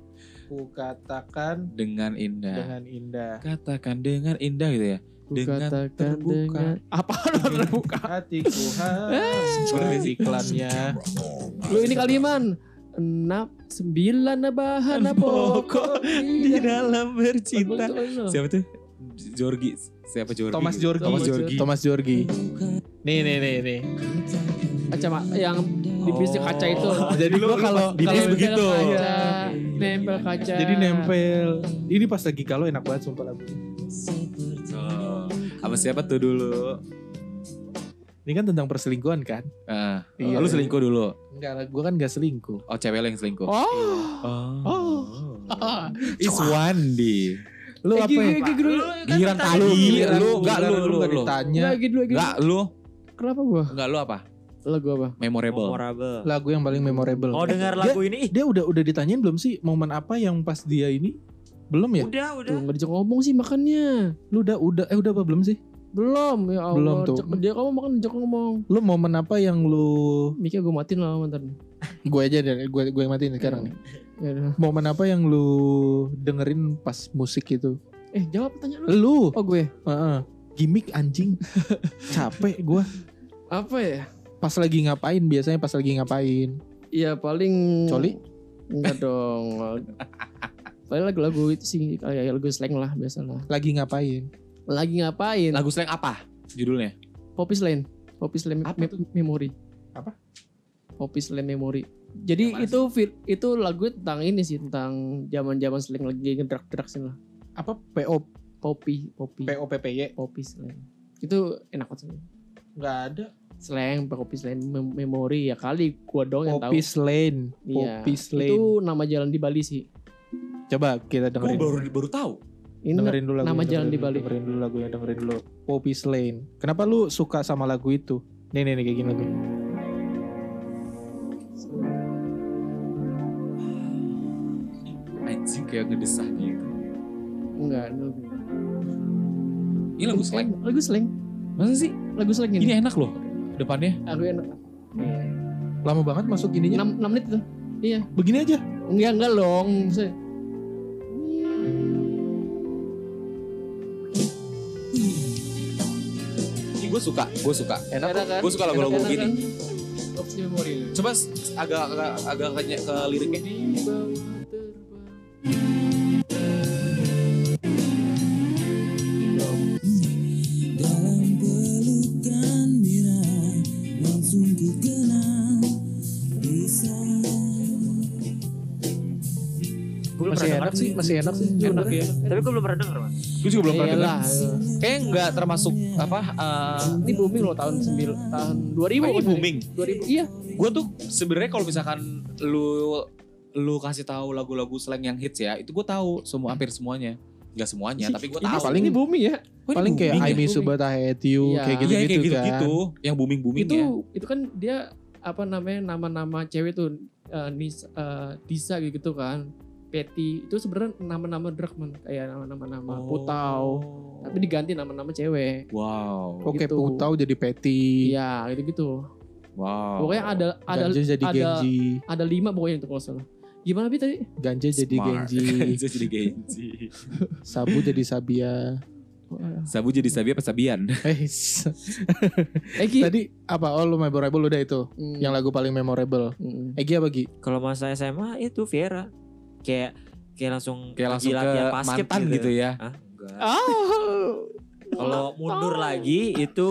Ku katakan
Dengan indah.
dengan indah.
Katakan dengan indah gitu ya. Dengan terbuka.
Apa lo terbuka?
Hatiku
Sebenarnya
hamba
sih.
iklannya.
Lu ini kaliman. Enam sembilan bahan pokok
Di dalam bercinta.
Bagus,
Siapa tuh? Jorgi. Siapa Jorgi?
Thomas
gitu?
Jorgi.
Thomas Jorgi.
Thomas Jorgi. Nih nih nih nih.
kacama yang di bisnya kaca
Oh,
itu.
Oh, Jadi gua kalau
di bis
kalau-
begitu.
Kaca, Iya. nempel kaca.
Jadi nempel. Ini pas lagi kalau enak banget sumpah lagu.
Oh, Sama siapa tuh dulu?
Ini kan tentang perselingkuhan kan?
Eh,
Iya.
Lu selingkuh dulu.
Enggak lah, gue kan gak selingkuh.
Oh, cewek lo yang selingkuh.
Oh.
Oh.
It's Wandi.
Lu
Eh,
apa
gigi,
ya?
gigi dulu.
Giliran
Girang tahu. kan Ah, Lu
gua,
enggak lu
lu
lu
gak
lu.
ditanya.
Enggak gitu lagi dulu.
Enggak lu.
Kenapa gua?
Enggak lu apa?
Lagu apa?
Memorable.
Memorable.
Lagu yang paling memorable.
Oh
Iya.
dengar
Dia-
lagu ini ih,
Dia udah udah ditanyain belum sih momen apa yang pas dia ini? Belum ya?
Iya.
udah
Tuh
udah.
enggak bisa ngomong sih makannya.
Lu udah udah eh udah apa belum sih?
Belum ya Allah.
Belum tuh.
Cak- Dia kamu makan jangan ngomong.
Lu momen apa yang lu
Mikir gua matiin lah mantan.
gue aja deh, gue gue yang matiin sekarang nih.
Ya udah.
Momen apa yang lu dengerin pas musik itu?
Eh, jawab pertanyaan lu.
Lu,
Oh, gue.
heeh. Gimik anjing. Capek gua.
Apa ya?
Pas lagi ngapain biasanya pas lagi ngapain?
Ya paling
Coli?
Enggak <laughs> dong. paling lagu-lagu itu sih kayak lagu slang lah biasalah.
Lagi ngapain?
Lagi ngapain?
Lagu slang apa? Judulnya.
Popis Lane. Popis Lane
Apa
Me- Memory.
Apa?
Popis Lane Memory. Jadi
Yang mana
itu fil- itu lagu tentang ini sih tentang zaman-zaman slang lagi ngedrak-drak sih lah.
Apa PO
Popi, popi,
POPPY?
popis Lane. Itu enak banget. sih.
Enggak ada.
Slang, popis Lane Mem- Memory ya kali gua dong yang tahu.
Popis Lane,
Iya.
Popis Lane.
Itu nama jalan di Bali sih.
Coba kita
Gue
dengerin.
baru baru tahu.
Ini
dengerin dulu lagunya,
nama jalan
dengerin
di Bali.
dulu, Dengerin dulu lagunya, dengerin dulu. Popis Lane. Kenapa lu suka sama lagu itu? Nih nih nih kayak gini lagunya.
Anjing kayak ngedesah gitu.
enggak. lagu-
Ini lagu slang.
Lagu slang.
Masa sih?
Lagu slang Eh, ini.
Ini ya? enak loh. Depannya.
Lagu enak.
Lama banget masuk ininya.
6, menit itu.
Begini aja.
Enggak, enggak dong. Maksudnya,
Ini gue suka. Gue suka.
Enak.
Enak kan?
Gue suka lagu-lagu gitu.
Enak, enak,
begini.
kan? Opsi memori.
Coba s- agak agak agak ke, ke liriknya.
Di bawah terbang.
Gue belum
Masih
pernah
enak
dengar
sih.
masih enak sih.
Enak ya.
Tapi gue belum pernah denger, Mas.
Gue juga belum pernah dengar.
Iyalah.
Kayaknya nggak termasuk apa? eh,
Ini booming loh tahun 9 tahun kan 2000.
ini
maksudnya.
booming.
2000. ya? Iya.
Gue tuh sebenarnya kalau misalkan lu lu kasih tahu lagu-lagu slang yang hits ya, itu gue tahu semua hampir semuanya. Nggak semuanya, tapi gue
Ini-
tahu.
paling-
ini booming ya.
Oh, ini
Paling kayak
booming
I
ya?
Miss
Booming.
Subata Hate You
Iya.
kayak
Iya,
gitu-gitu
kayak
kan.
gitu-gitu. Yang booming-booming
itu
ya.
itu kan dia apa namanya nama-nama cewek tuh eh, Nis, eh, Disa gitu kan Peti itu sebenarnya nama-nama drag man kayak nama-nama
Oh.
nama putau tapi diganti nama-nama cewek
Wow.
Oke,
Gitu.
Putau jadi Patty.
iya gitu gitu
Wow.
pokoknya ada ada
Ganja jadi
ada-
Genji.
ada lima pokoknya itu kalau nggak salah gimana bi tadi
Ganja jadi
Smart.
Genji.
Bisa <laughs> jadi Genji.
Sabu jadi Sabia.
Sabu jadi Sabia apa Sabian?
Eh,
Egi
tadi apa? Oh, lu memorable udah itu.
Eh, gitu. Hmm,
Yang lagu paling memorable.
hmm.
Egi apa
<laughs>
Gi?
Kalau masa SMA itu Viera. Kayak kayak langsung
Kayak langsung
lagi
ke
latihan basket
mantan gitu. ya.
Hah? Enggak.
Oh.
Kalau mundur lagi itu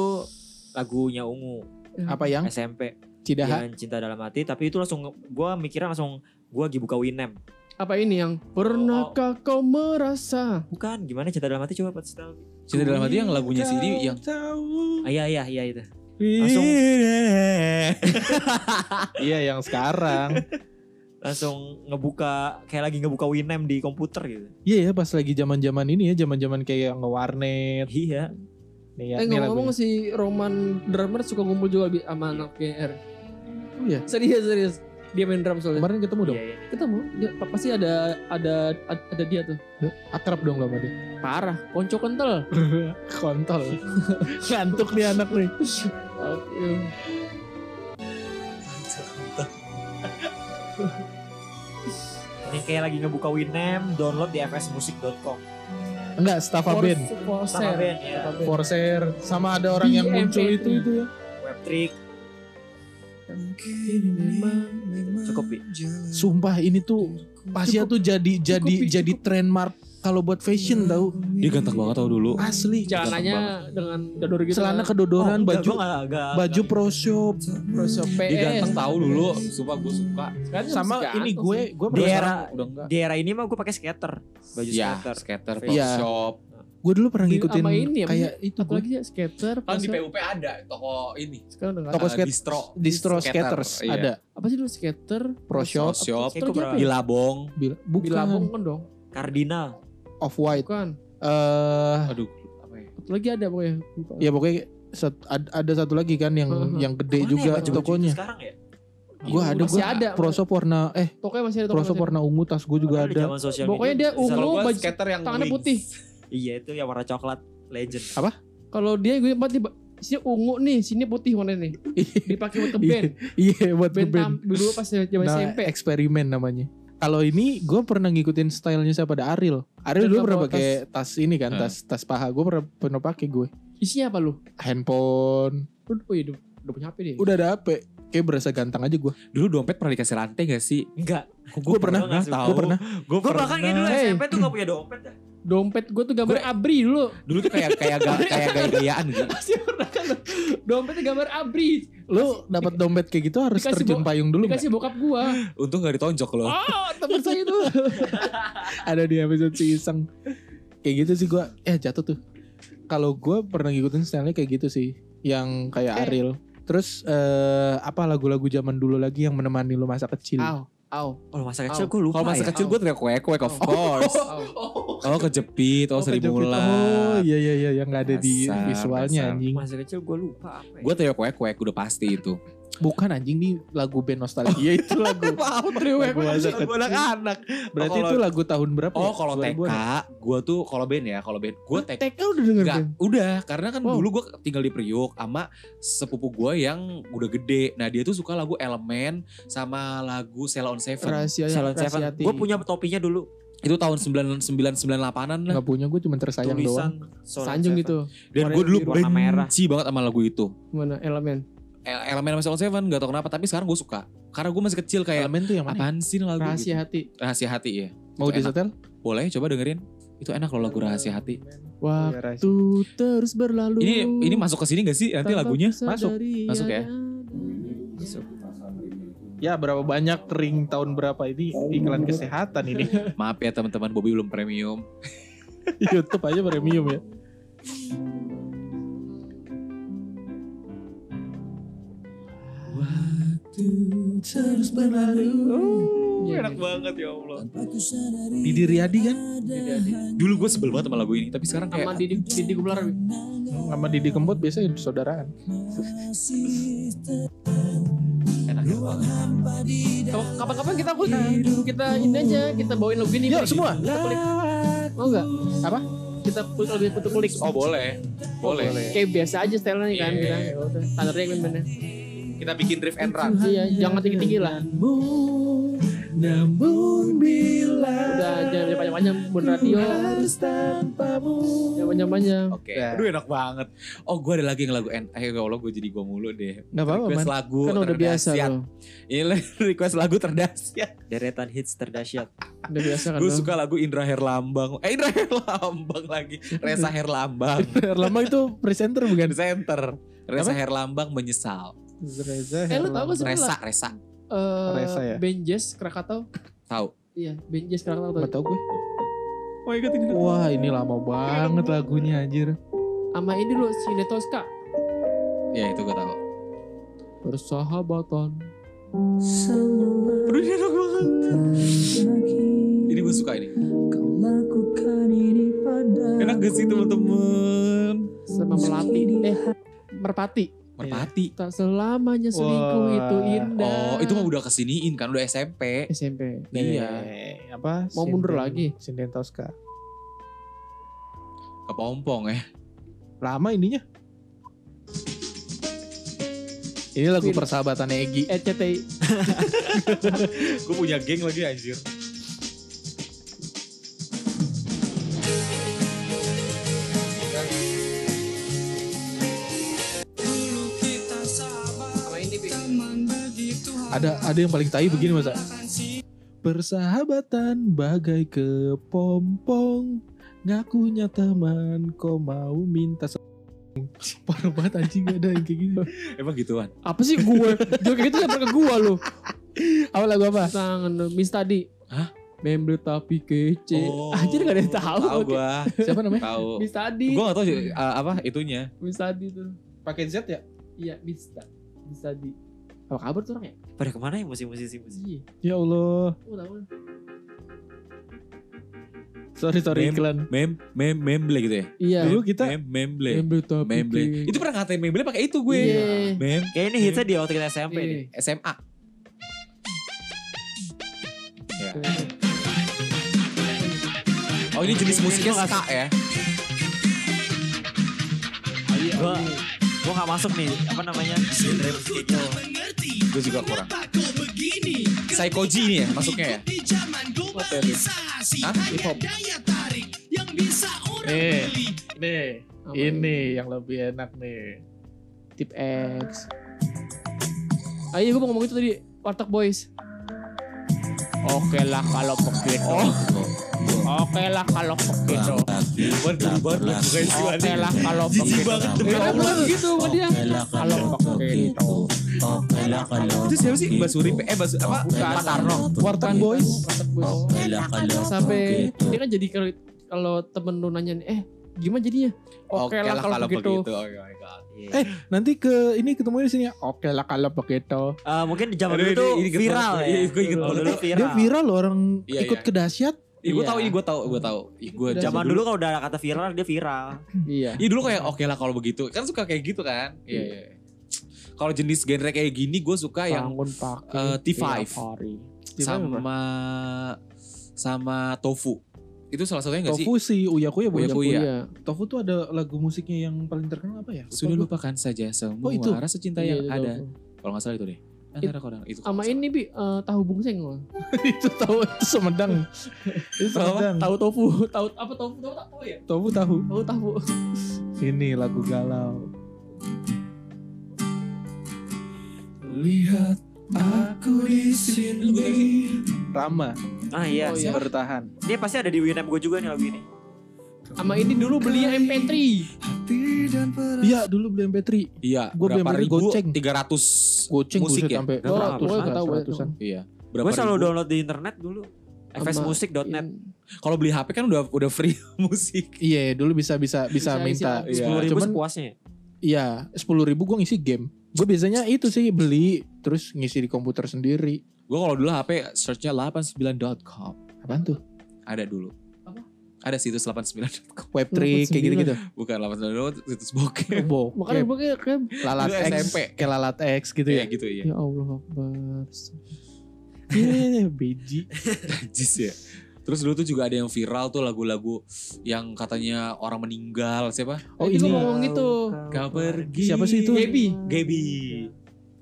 lagunya ungu
Apa
Iya.
yang?
SMP
Cidaha.
Iya.
Jangan cinta dalam hati tapi itu langsung gue mikirnya langsung gue lagi buka Winem
apa ini yang pernahkah kau merasa
bukan gimana cinta dalam hati coba Pat setel
Cinta dalam hati yang lagunya sendiri yang
ah, iya iya iya itu
langsung
Iya, yang sekarang.
langsung ngebuka kayak lagi ngebuka Winem di komputer gitu
<laughs> Iya ya, pas lagi zaman-zaman ini ya, zaman-zaman kayak ngewarnet.
iya
Nih ya,
eh
nih
ngomong-ngomong
lagunya.
si Roman drummer suka ngumpul juga Bi, sama anak GR
Oh iya.
serius serius dia main drum soalnya
Kemarin ketemu dong.
Iya, iya.
ketemu dia, pa- pasti ada ada ad- ada dia tuh
Akrab dong lo sama dia.
parah konco kental
Kontol. <laughs> Ngantuk nih anak nih.
Oke.
Ini kayak lagi ngebuka Winem download di fsmusic.com
Enggak, Stafa
For-
Band.
for
sama
sale.
band ya
Stafa band.
Forser sama ada orang yang
BMP.
muncul itu itu ya.
webtrick cukup Bi.
Sumpah ini tuh Asia tuh jadi jadi
cukup.
jadi trademark kalau buat fashion tau.
dia ganteng banget tau dulu.
Asli.
celananya dengan dador gitu
Celana
kan.
kedodoran,
Oh,
baju
Enggak, gua nggak- nggak-
baju
nggak-
pro shop.
Pro Shop
Dia ganteng
PS.
tahu dulu. Sumpah gue suka.
Sekarang
Sama
masih
ini
ganteng
gue
sih.
gue
Di
pernah-
era
Udah enggak.
di era ini mah gue pakai skater baju
Ya,
skater
skater,
Iya.
pop shop.
gue dulu pernah
Di-
ngikutin
sama ini ya,
kayak itu
Satu
gue.
lagi ya skater
Kan di
Pro Shop.
PUP ada toko ini.
sekarang udah nggak
Toko
eh,
skate-
distro.
Distro
Skater,
skaters
iya.
ada.
apa sih dulu skater
Pro Shop.
Pro
Shop.
Skater lagi apa
Di
ya?
Labong.
Bila- Bukan
Bilabong kan dong
kardinal
off white.
bukan
Eh
Aduh, apa ya?
satu lagi ada pokoknya Lupa.
ya pokoknya sat- ad- ada satu lagi kan yang
Uh-huh.
yang gede
Kemana
juga
ya baju-baju
tokonya.
itu sekarang ya
Gue ada
Iya, Masih
gue
ada.
pro shop warna eh
pokoknya masih ada toko
pro shop
masih ada.
warna ungu tas gue juga
Padahal di
ada.
zaman sosial
Pokoknya
media,
dia ungu,
selalu-
Kalau gue
baju-
skater yang
tangannya
wings.
putih.
iya itu yang warna coklat legend
kalau dia gue empat sini ungu nih sini putih warna nih dipakai <laughs> buat ke band
Iya buat
band,
ngeband.
tam- dulu pas zaman
Nah,
SMP
eksperimen namanya. Kalau ini gue pernah ngikutin stylenya siapa ada Ariel. Ariel
Dan
dulu pernah
kamu
pakai tas ini kan,
Hmm.
tas tas paha gue pernah pernah pakai gue.
isinya apa lu?
Handphone,
Lu oh iya, udah, udah punya HP deh.
udah ada HP. Kayak berasa ganteng aja gue.
Dulu dompet pernah dikasih rantai gak sih?
enggak
Gue pernah,
pernah,
gue pernah.
Gue
gue bahkan kayak dulu
Hey.
SMP tuh gak punya dompet dah
Dompet gue tuh gambar abri dulu. <laughs>
Dulu tuh kayak kayak ga, kayak gaya-gayaan gitu.
Masih pernah kan? lu? Dompetnya gambar abri.
Lo dapat dompet kayak gitu harus
Dikasih
terjun
bo-
payung dulu. nggak?
Dikasih bokap <laughs> gua.
Untung gak ditonjok loh.
Oh, temen saya itu.
Ada di episode si Iseng. Kayak gitu sih gue. Eh jatuh tuh. Kalau gue pernah ngikutin stylenya kayak gitu sih, yang kayak
Eh.
Ariel. Terus eh, apa lagu-lagu zaman dulu lagi yang menemani lo masa kecil?
<laughs> Au, au,
kalau Oh, masa
kecil
kecil
gua
gue lupa
Kalau masa
ya.
kecil gue teriak kuek-kuek of
Oh.
course.
au.
Oh kejepit, oh,
Oh,
sering
kejepit. Oh
mulat.
iya iya iya yang nggak ada di
Dasar,
visualnya
dasar.
anjing.
masa kecil gue lupa apa ya.
Gue teriak kuek-kuek udah pasti itu.
Bukan anjing nih lagu band nostalgia Iya, itu
<laughs>
lagu.
Apa
Lagu masa kecil.
anak-anak.
Berarti
Oh, kalau-
itu lagu tahun berapa? ya?
Oh kalau TK,
2000-an ya?
gue tuh kalau band ya, kalau band gue TK.
TK udah denger
Enggak,
band?
udah karena kan
Wow.
dulu gue tinggal di Priuk sama sepupu gue yang udah gede. Nah dia tuh suka lagu Elemen sama lagu Sela on Seven.
Rahasia yang
Salon Seven. Gue punya topinya dulu.
Itu tahun 9998-an lah.
Enggak punya gue cuma tersayang doang.
Tulisan Salon
Sanjung
Seven.
gitu.
Dan
warna
gue dulu
biru, warna merah.
benci banget sama lagu itu.
Gimana elemen?
El- Elemen sama Sela on Seven gak tau kenapa tapi sekarang gue suka. Karena gue masih kecil kayak
Elemen tuh yang mana?
apaan sih lagu
Rahasia
gitu.
hati.
Rahasia hati ya.
Mau
Itu enak.
disetel?
Boleh coba dengerin. Itu enak loh lagu rahasia hati.
Waktu
Itu
terus berlalu.
Ini ini masuk ya? ke sini gak sih nanti
tanpa
lagunya?
kusadari
Masuk.
Masuk ya?
ada-
Masuk.
Ya berapa banyak ring tahun berapa ini iklan kesehatan ini.
Maaf ya teman-teman Bobby belum premium.
YouTube aja premium ya.
Waktu terus berlalu
Iya,
enak
iya.
banget ya Allah.
tanpa ku sadari
Didi Riyadi kan?
ada
Dulu gue sebel banget sama lagu ini, tapi sekarang
sama
kayak gitu.
Didi Didi Kempler Wi.
Sama Didi Kempot biasanya saudaraan.
masih
enak banget.
hampa di
Kalau kapan-kapan kita aku
Iya,
kita ini aja kita bawain lagu ini
Yuk
Wi.
semua.
Kita kulik. mau nggak
Apa?
kita putus lagu untuk kulik
Oh boleh, boleh.
kayak biasa aja stylenya nih kan
Iya.
kita Ya udah, standarnya kan bener
Kita bikin drift and run.
iya jangan tinggi-tinggi lah
namun bila
udah jangan panjang-panjang buat radio
harus tanpamu
jangan panjang-panjang
Oke.
Ya.
Nah. Aduh enak banget. Oh gue ada lagi yang lagu en. Eh ya Allah gue jadi gue mulu deh.
Gak apa-apa
request
man.
lagu
kan udah biasa
terdahsyat.
loh
Ini <laughs> request lagu terdahsyat.
Deretan hits terdahsyat.
udah biasa kan
Gue
lo.
suka lagu Indra Herlambang. Eh Indra <laughs> Herlambang lagi. Resa Herlambang.
Lama itu presenter bukan?
Center. Resa Herlambang menyesal.
Reza.
eh lu tau gak sebenernya
Resa, Resa.
Resa ya?
Eh, Band Jazz Krakatau
Tahu.
Iya, Band Jazz Krakatau
Gak tau
tau
gue.
Oh my god ini.
Wah ini lama banget lagunya anjir.
Sama ini loh, si Netoska
Ya itu gue tahu.
Persahabatan
Aduh ini enak banget. Ini gue suka ini. Enak gak sih teman-teman?
Sama Melati Eh, Merpati
Merpati.
Tak selamanya selingkuh
Wah.
itu indah
Oh itu mah udah kesiniin kan udah SMP.
SMP
Iya.
Eh, Apa?
Mau mundur
Sinden-
lagi.
Sinden Tosca.
Kepompong ya.
Lama ininya. Ini lagu
Queen.
persahabatan Egi.
ECTI
Gue punya geng lagi anjir.
Sama ini, Pi
Ada ada yang paling tai begini masa. Persahabatan bagai kepompong Ngakunya teman kau mau minta se- Parah banget anjing gak ada yang kayak gini
Emang gituan.
Apa sih gue? Jangan kayak gitu lempar ke gue lo
Apa lagu apa?
Tangan lo, Miss tadi
Hah?
Member tapi kece
Oh,
Anjir gak ada yang tau
Tahu gue.
Siapa namanya?
Tahu.
Miss tadi
Gue gak tau sih uh, apa itunya.
Miss tadi tuh
Pakai Z ya?
Iya, Miss Ta- Miss tadi Apa kabar tuh orang ya?
Pada kemana ya musisi-musisi? musisi?
Iya,
Ya Allah
gue tau
Sorry sorry
Mem-
iklan
Mem mem memble gitu ya.
Iya
Dulu kita
Mem memble.
Member tapi
Memble.
kece.
Itu pernah ngatain memble pakai itu gue.
Iya.
Mem
Kayak ini hitsnya di waktu kita SMP nih.
Iya.
SMA. Ya. Oh ini jenis musiknya ska ya. Oh, iya.
Gua gua nggak masuk nih apa namanya? genre musik kayak gitu.
Gue juga kurang. Psychoji ini ya masuknya ya.
ya,
Hah?
Hip-hop.
ya,
Nih Nih
Apa
Ini yang lebih enak nih
Tip X. Ah iya gue mau ngomong itu tadi Warteg Boys. Oke lah kalau begitu. Oke lah kalau begitu.
Waduh banget bukan sih
Oke lah kalau
Jijik
begitu.
banget demi
Kenapa
Allah.
lu begitu gitu sama dia? Kalau begitu.
Itu siapa sih Mbak Suri? Eh Mbak Su- apa? Pak Tarno.
Warteg Boys
Warteg Kan Boys. Sampai dia kan jadi kalau kalau temen lu nanya nih, eh gimana jadinya? Oke lah kalau begitu.
Oh my god.
Iya.
Eh, Nanti ke ini ketemunya di sini ya. Oke lah kalau begitu.
Eh, mungkin di zaman
Aduh,
dulu
ini-
tuh
ini inget
viral
banget.
ya.
Iya, gua inget
Kalau
banget.
dulu viral.
Dia viral loh orang
Iya,
ikut
iya.
ke dahsyat.
Ih, gue
Iya.
tau, ih, gue tau, gue tau. Ih, gue
Udah.
Zaman dulu kalau udah ada kata viral dia viral.
Iya.
Iya dulu kayak oke lah kalau begitu. Kan suka kayak gitu kan. Iya. iya. Kalau jenis genre kayak gini gue suka yang
Bangun pakai iya,
eh, T5.
tiap hari.
sama sama tofu. Itu salah satunya gak sih?
Tofu si Uya Kuya Uya
Uya Kuya. Iya.
Iya.
Tofu tuh ada lagu musiknya yang paling terkenal apa ya? Lupa
Sudah
gua.
lupakan saja semua
Oh, itu.
rasa cinta
Iya, itu
yang ada.
tahu.
Kalau gak salah itu deh. Antara kau dan itu. kalau
Sama
nggak
ini bi eh, tahu bungseng loh.
<laughs> itu tahu itu Sumedang. itu Sumedang.
Tahu tofu, tahu apa tofu, tahu tahu ya?
Tofu tahu.
Tahu tahu.
Ini lagu galau.
Lihat aku di sini.
Rama
Ah iya.
Oh,
masih
iya.
bertahan.
Ini pasti ada di Winamp gue juga nih lagu ini.
Sama ini dulu beli yang MP3.
hati dan perasaan.
Iya dulu beli MP3
Iya,
Gua beli
berapa
yang
ribu?
goceng.
300
Goceng
musik
buset,
ya?
sampai Oh,
Berapa?
seratus
Gua
lah,
nggak tahu, gua
seratusan.
Iya. Berapa
Gue selalu
ribu?
download di internet dulu.
Sama
fsmusic.net
Iya.
Kalau beli HP kan udah udah free <laughs> musik.
Iya dulu bisa bisa bisa,
Bisa isi
minta
lagu.
Iya.
sepuluh ribu
Cuman
sepuasnya. ya?
iya sepuluh ribu gue ngisi game Gue biasanya itu sih beli Terus ngisi di komputer sendiri
Gue kalau dulu HP searchnya 89.com.
Apaan tuh?
Ada dulu.
Apa?
Ada situs 89.com.
Web3 kayak
89.
gitu-gitu
<laughs> Bukan 89.com, situs bokep.
Bo,
Makanya
kayak
gue kayak, kayak
lalat
Dulu
X
SMP.
Kayak lalat X <laughs> gitu
Iya
ya
gitu ya.
ya Allah Akbar.
Iya beji
Najis ya. Terus dulu tuh juga ada yang viral tuh lagu-lagu yang katanya orang meninggal siapa?
Oh
Tadi gua
ini
ngomong gitu.
Gak pergi.
Siapa sih itu?
Gaby. Gaby.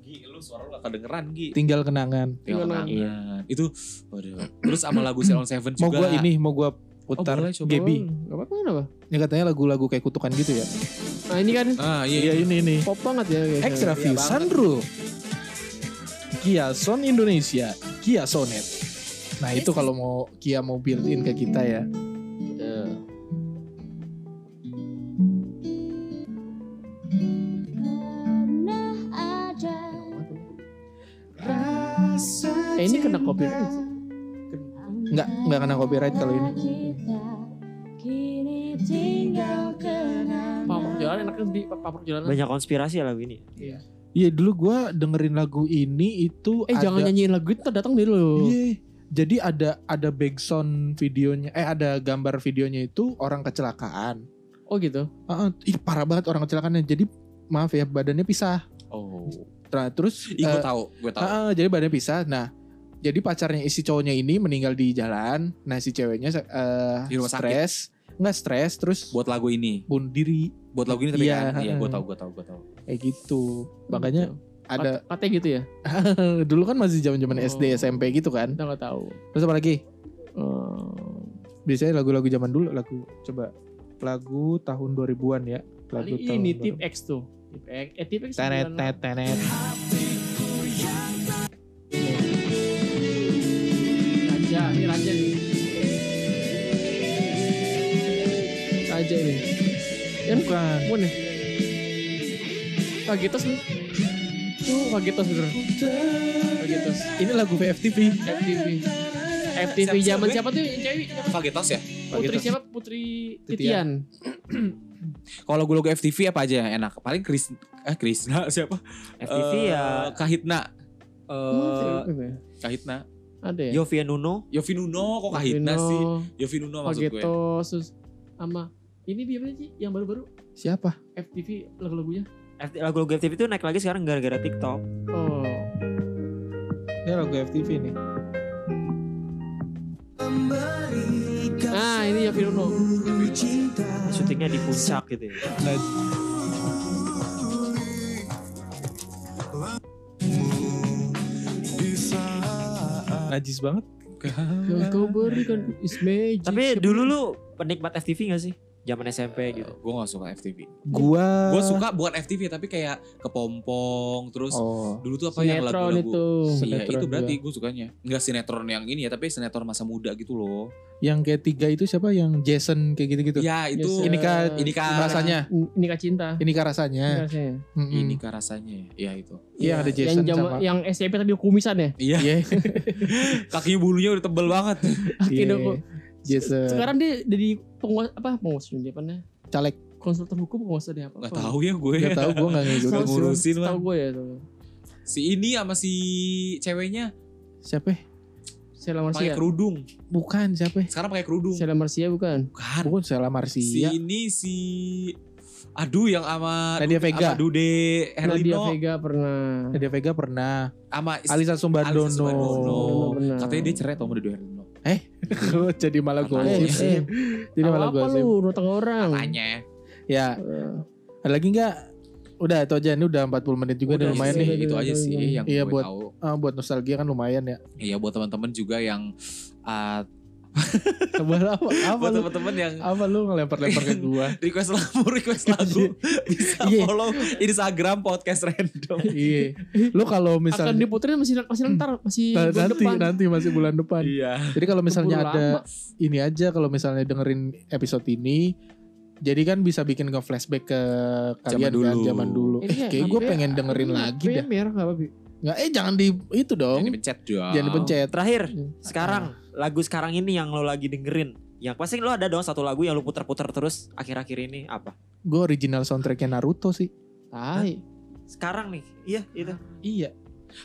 Gi, lu suara lu gak kedengeran Gi.
Tinggal kenangan
Tinggal
Gimana?
kenangan. Itu, waduh. Terus sama lagu Ceylon Seven juga.
Mau gue ini Mau gue putar
Oh,
boleh, coba.
Gaby
Gak apa-apa kenapa?
Ini katanya lagu-lagu kayak kutukan gitu ya
Nah ini kan
Ah iya,
Iya ini ini
pop banget ya. guys.
Extra View Sunroof Kia Sound Indonesia Kia Sonet Nah itu kalau mau Kia mau built in ke kita ya
Eh, ini kena copyright. sih.
Nggak, nggak kena copyright kalau ini
Pamor jalan enaknya di pamor jalan.
Banyak konspirasi ya lagu ini.
Iya dulu gua dengerin lagu ini itu
Eh jangan nyanyiin lagu itu datang dulu loh.
gitu.
Iya. Jadi ada ada background videonya eh ada gambar videonya itu orang kecelakaan.
Oh gitu.
Heeh, ih parah banget orang kecelakaannya. Jadi maaf ya badannya pisah.
Oh.
Nah, terus
Ih, gue
eh,
tahu, gue tahu.
heeh, jadi badannya pisah. Nah, jadi pacarnya isi cowoknya ini meninggal di jalan. Nah, si ceweknya eh
Di rumah sakit.
stres. Enggak stres terus
Buat lagu ini,
bunuh diri
buat lagu ini tapi
Iya,
kan, iya, gue
heeh.
tahu, gue tahu, gue tahu.
kayak gitu. Makanya
Gitu.
ada
Kat- katanya gitu ya.
dulu kan masih zaman-zaman
Oh.
SD SMP gitu kan.
Kita nggak tahu.
Terus apa lagi?
Eh,
Biasanya lagu-lagu zaman dulu lagu coba lagu tahun 2000-an ya. Lagu
kali ini
tahun
tip X tuh. Tip X. Eh tip X.
Tenet, tenet,
bukan-
tenet.
Iya. Raja, ini raja nih. Raja ini. Ya,
Bukan.
Mun ya. Pagitos nih. Tuh Pagitos bener. Pagitos.
Ini lagu VFTV.
FTV. FTV zaman siapa tuh yang cewek?
Fagetos ya?
Putri siapa? Putri Titian.
Kalau gue lagu FTV apa aja yang enak? Paling Kris, eh Krisna siapa?
FTV
Eh,
ya.
Kahitna.
Emang
Eh,
cewek apa ya?
Kahitna.
Ada ya?
Yovie Nuno.
Yofi Nuno kok Kahitna
Vino,
sih? Yofi Nuno maksud gue.
Pagetos, terus sama ini dia apa sih yang baru-baru
Siapa?
FTV lagu-lagunya?
FT Lagu-lagu FTV itu naik lagi sekarang gara-gara TikTok.
Oh,
Ini lagu FTV nih.
nah ini ya Firno.
Gitu. Ah.
Syutingnya di puncak gitu ya.
Najis banget.
Yang kau berikan is magic.
Tapi dulu lu penikmat FTV gak sih? Zaman SMP gitu.
Gue gak suka FTV.
Gua
Gue suka bukan FTV tapi kayak kepompong terus
Oh.
dulu tuh apa yang
sinetron
lagu-lagu
itu.
Iya
Sinetron
itu berarti gue sukanya Enggak sinetron yang ini ya Tapi sinetron masa muda gitu loh
Yang ketiga itu siapa? Yang Jason kayak gitu-gitu.
Ya itu
Yes,
Ini kah
Iya Ini kan
kah
rasanya?
Ini kak cinta.
Ini kah rasanya?
Ini rasanya.
Mm-mm.
Ini kah rasanya Ya itu
Iya, ada
Yang
Jason sama.
jama- yang SMP tadi kumisan ya.
Iya
Iya.
kaki bulunya udah tebel banget
Iya.
dong, kok.
Jason.
Sekarang dia jadi penguasa apa? Penguasa dia apa nih?
Caleg.
Konsultan hukum penguasa dia apa?
Gak tahu ya gue
Gak tau gue gak
Gak
ngikutin.
ngurusin lah
Tahu gue ya tuh.
Si ini sama si ceweknya
Siapa?
Sela
ya?
Pakai
Marsia.
kerudung
Bukan siapa?
Sekarang pakai kerudung
Sela Marsia bukan?
Bukan
Bukan Sela
Si
Marsia.
ini si Aduh yang sama
ya. Nadia Vega.
Sama Dude
Nadia
Herlino Eh,
Vega pernah.
Nadia Vega pernah.
Sama
Alisa Sumbadono.
Alisa Sumbadono.
Benar.
Katanya dia cerai sama Dude Herlino
Hmm. Jadi malah gue.
Katanya.
Jadi malah
eh, apa
gue.
lu notang orang?
Katanya
Ya,
Iya.
ada lagi nggak? Udah itu aja ini udah 40 menit juga udah,
Udah
lumayan
sih,
nih.
nih.
Itu aja sih yang
Iya,
gue
buat-
tahu.
Ah, buat nostalgia kan lumayan ya.
Iya buat teman-teman juga yang uh,
Coba apa? Apa
buat
lu?
teman-teman yang
Apa lu ngelempar-lempar ke gua?
request lagu <laughs> request lagu bisa
Iya.
follow Instagram podcast random.
iya. Lu kalau
Akan
misalnya
diputerin masih masih ntar masih
Ta-
bulan
nanti
depan.
nanti masih bulan depan.
Iya.
Jadi kalau misalnya
Keburu
ada
lama.
ini aja kalau misalnya dengerin episode ini Jadi kan bisa bikin ke flashback ke kalian kan
Zaman dulu.
zaman dulu.
Ini ya,
Eh, kayak gue
namanya-
pengen dengerin lagi
Namanya
dah.
merah nggak apa-apa.
Nggak, eh jangan di itu
Jangan
dong.
dipencet dong.
Jangan dipencet.
Terakhir,
Hmm.
sekarang lagu sekarang ini yang lo lagi dengerin. Yang pasti lo ada dong satu lagu yang lo putar-putar terus akhir-akhir ini apa?
Gue original soundtracknya Naruto sih.
Tai.
Sekarang nih, iya itu.
Iya.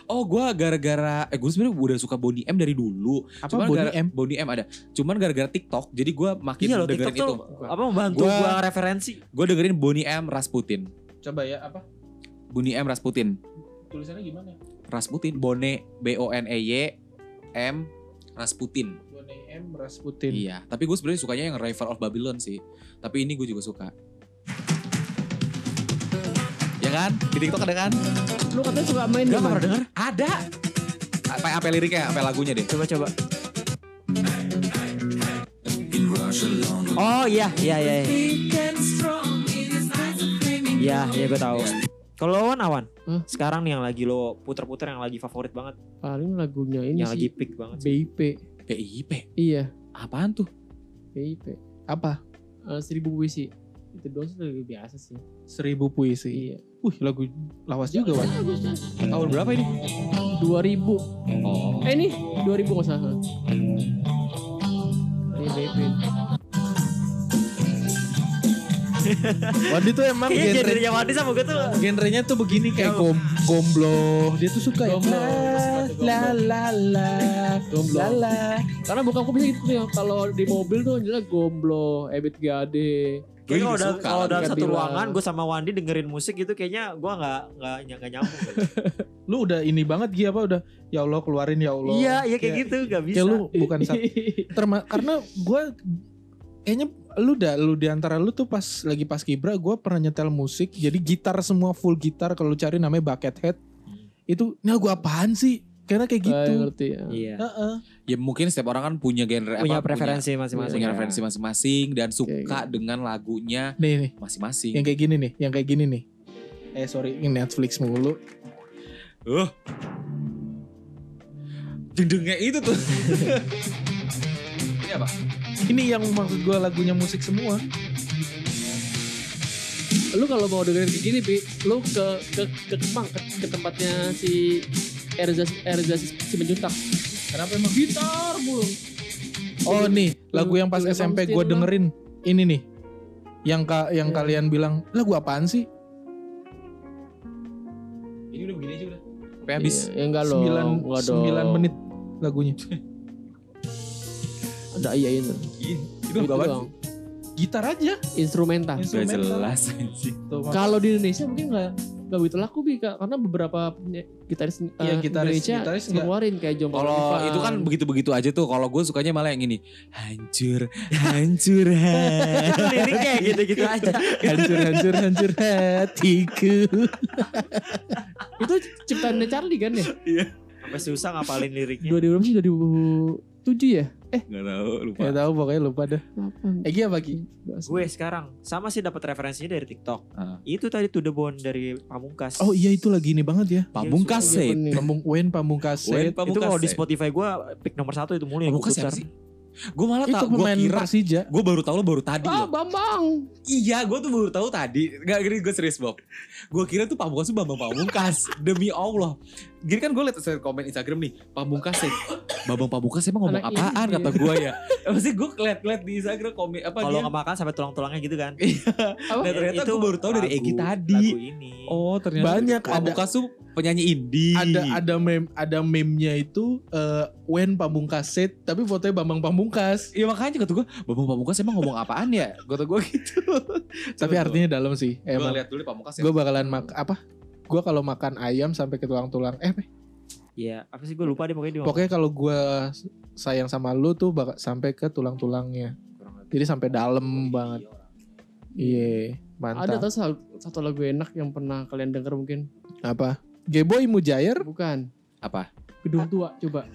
Oh gue gara-gara, eh gue sebenarnya udah suka Bonnie M dari dulu.
Apa
Cuman
Bonnie
gara-
M?
Bonnie M ada. Cuman gara-gara TikTok, jadi gue makin
Iya lo
Gitu, dengerin
TikTok
itu.
tuh apa membantu
Gua-
gua referensi.
Gue dengerin Bonnie M Rasputin.
Coba ya apa?
Bonnie M Rasputin.
Tulisannya gimana?
Rasputin, Bone, B-O-N-E-Y, E M, Rasputin.
Bonnie M Rasputin.
Iya, tapi gue sebenarnya sukanya yang Rival of Babylon sih. Tapi ini gue juga suka. Ya kan? Di TikTok ada kan?
Lu katanya suka main ya,
Gak
di mana?
pernah denger?
Ada. Apa apa liriknya, apa lagunya deh.
Coba-coba. Oh iya, iya, iya. iya. Iya, iya gue tahu. Kalau Wan Awan,
Hah?
sekarang nih yang lagi lo puter-puter yang lagi favorit banget,
Paling lagunya ini
yang lagi
sih.
pick banget.
BIP.
PIP.
Iya,
Apaan tuh?
BIP.
Apa?
Eh, seribu puisi. Itu doang sih lebih biasa sih.
Seribu puisi.
Iya.
Wih lagu lawas juga Wan.
Tahun berapa ini?
2000.
Oh.
Eh ini 2000 nggak salah. Iya, BIP.
Wan itu emang
Kayaknya
genre
genrenya Wandi sama gue tuh
genrenya tuh begini kayak gom gomblo. Dia tuh suka ya.
Gomblo.
La la la la la
Gomblo.
la.
Karena bukan aku bisa gitu tuh ya. Kalau di mobil tuh jelas gomblo, Ebit Gade.
Gue
Kayaknya kalau
juga
dalam,
suka.
kalau dalam
Gak
satu
bilang.
ruangan gue sama Wandi dengerin musik gitu kayaknya gue nggak nggak ny- nggak nyambung. kali.
Lu udah ini banget Gi apa udah ya Allah keluarin ya Allah.
Iya iya kayak gitu nggak bisa.
Kayak lu bukan
<laughs>
satu
Gitu.
terma karena gue kayaknya lu dah lu di antara lu tuh pas lagi pas kibra gue pernah nyetel musik jadi gitar semua full gitar kalau lu cari namanya buckethead itu nah gue apaan sih karena kayak
Gitu.
gitu
ngerti ya.
Iya.
Heeh.
Ya mungkin setiap orang kan punya genre
Punya
apa,
preferensi
punya,
masing-masing.
punya
ya.
referensi masing-masing dan suka
Kayak
dengan lagunya
nih nih yang
masing-masing.
kayak gini nih yang kayak gini nih eh sorry ini Netflix mulu
Uh. Dendengnya itu tuh. Ini apa?
ini yang maksud gue lagunya musik semua
Lu kalau mau dengerin kayak gini, Bi, lu ke ke ke Kemang, ke, ke tempatnya si Erza Erza Simenjuntak. Kenapa emang gitar mulu?
oh nih lagu yang pas SMP gue dengerin ini nih yang ka, yang
Iya.
kalian bilang lagu apaan sih
Ini udah begini aja udah. Sampai habis.
Iya, ya enggak dong,
sembilan
enggak dong.
sembilan menit lagunya
Ada iya itu.
Ih, Itu
Itu
apa?
doang.
gitar aja
Instrumental.
Gak jelas anjing.
Tuh, mak-
Kalau di Indonesia mungkin enggak enggak begitu laku Bi, Kak. karena beberapa penye- gitaris, eh,
Iya, gitaris-
Indonesia
gitaris enggak.
ngeluarin kayak John Paul
Kalau
Ivan.
itu kan begitu-begitu aja tuh. Kalau gue sukanya malah yang ini. Hancur, hancur, ha-
Itu liriknya ya, gitu-gitu
Iya.
aja.
hancur hancur hancur hatiku
itu ciptaannya Charlie kan ya?
Sampai susah ngapalin liriknya.
2000 sih 2007 ya?
Gak tahu lupa.
Gak tau pokoknya lupa dah Egi apa Ki?
Gue sekarang sama sih dapat referensinya dari TikTok.
Ah.
Itu tadi To The Bone dari Pamungkas.
Oh iya itu lagi ini banget ya
Pamungkas
Iya,
set. Iya.
Pambung Wen Pamungkas
Wen
Set.
itu
Pamungkas
kalau di
Set.
Spotify gue pick nomor satu itu mulu yang gue
Pamungkas siapa
putar.
sih? Gue malah
Itu
tau, gue
pemain
kira.
Persija
Gue baru tahu lo baru tadi
Ah,
loh.
Bambang.
Iya, gue tuh baru tahu tadi. Gak gini, gue serius Bob. Gue kira tuh Pamungkas tuh Bambang Pamungkas. Demi Allah. Gini kan gue liat saya komen Instagram nih, Pamungkas set. Bambang Pamungkas emang ngomong
Anak
apaan
ini
kata gue ya. Maksudnya gue liat-liat di Instagram komen apa
Kalau
dia.
kemakan sampai tulang-tulangnya gitu kan.
Apa?
Dan ternyata gue Iya. baru tahu dari
lagu-
Egi tadi.
Lagu ini.
Oh ternyata
Banyak, ada.
Pamungkas tuh penyanyi indie.
ada ada meme ada meme-nya itu eh, Wen Pamungkas Set tapi fotonya Bambang Pamungkas
Ya makanya kata gue, Bambang Pamungkas emang ngomong apaan ya? Kata gue gitu.
tapi artinya dalam sih
gue
emang
lihat dulu Pamungkas ya.
gue bakalan mak apa gue kalau makan ayam sampai ke tulang-tulang eh
Iya, apa sih gue lupa deh pokoknya dia ngomong.
pokoknya kalau gue sayang sama lu tuh bakal sampai ke tulang-tulangnya
Kurang lebih.
jadi sampai dalam banget Iya,
Ada
mantap.
tuh sal- satu lagu enak yang pernah kalian denger mungkin?
Apa? Geboy Mujair?
Bukan.
Apa?
Gedung tua
<laughs>
coba.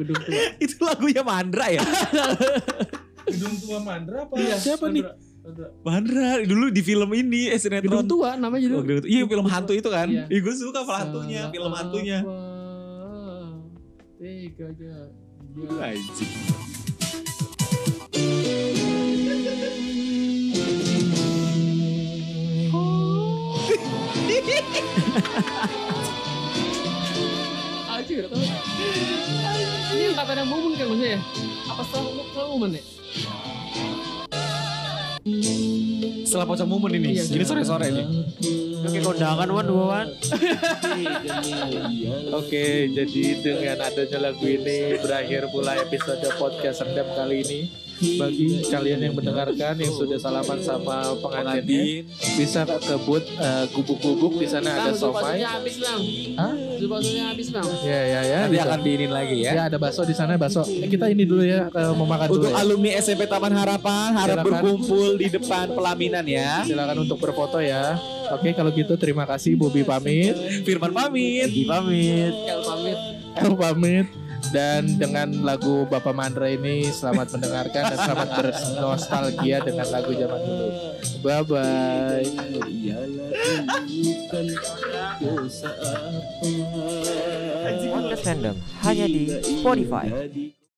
Gedung tua.
<laughs> Itu lagunya Mandra ya?
Gedung Tua Mandra apa?
Iya, Siapa nih?
Mandra dulu di film ini eh,
Gedung
sinetron.
tua namanya
Oh,
dulu.
Gedung Tua. Iya film hantu itu kan.
Iya.
Iya gue suka film hantunya, film hantunya.
Tiga aja.
Anjing.
Aji gak tahu. Ini yang tak ada momen kan maksudnya ya? Apa setelah untuk setelah momen ya?
Setelah pocong momen ini.
Iya,
Gini sore-sore ini.
Oke kondangan wan wan.
Oke, jadi dengan adanya lagu ini berakhir pula episode podcast rendam kali ini. Bagi kalian yang mendengarkan yang sudah salaman sama pengantinnya
Pengantin.
bisa ke booth eh, gubuk-gubuk di sana ada somai.
Baksonya habis bang.
Hah?
Baksonya habis bang.
Ya ya ya.
Nanti
bisa.
akan diinin lagi ya.
Ya. ada bakso di sana bakso. Eh, Kita ini dulu ya eh, mau makan dulu.
Untuk
Ya.
alumni SMP Taman Harapan
Silakan.
harap berkumpul di depan pelaminan ya.
Silakan untuk berfoto ya. Oke, kalau gitu terima kasih Bobi pamit,
Firman pamit.
Egi pamit.
Kalau pamit.
El pamit dan dengan lagu Bapak Mandra ini selamat mendengarkan dan selamat bernostalgia dengan lagu zaman dulu. Bye bye.
Podcast random hanya di Spotify.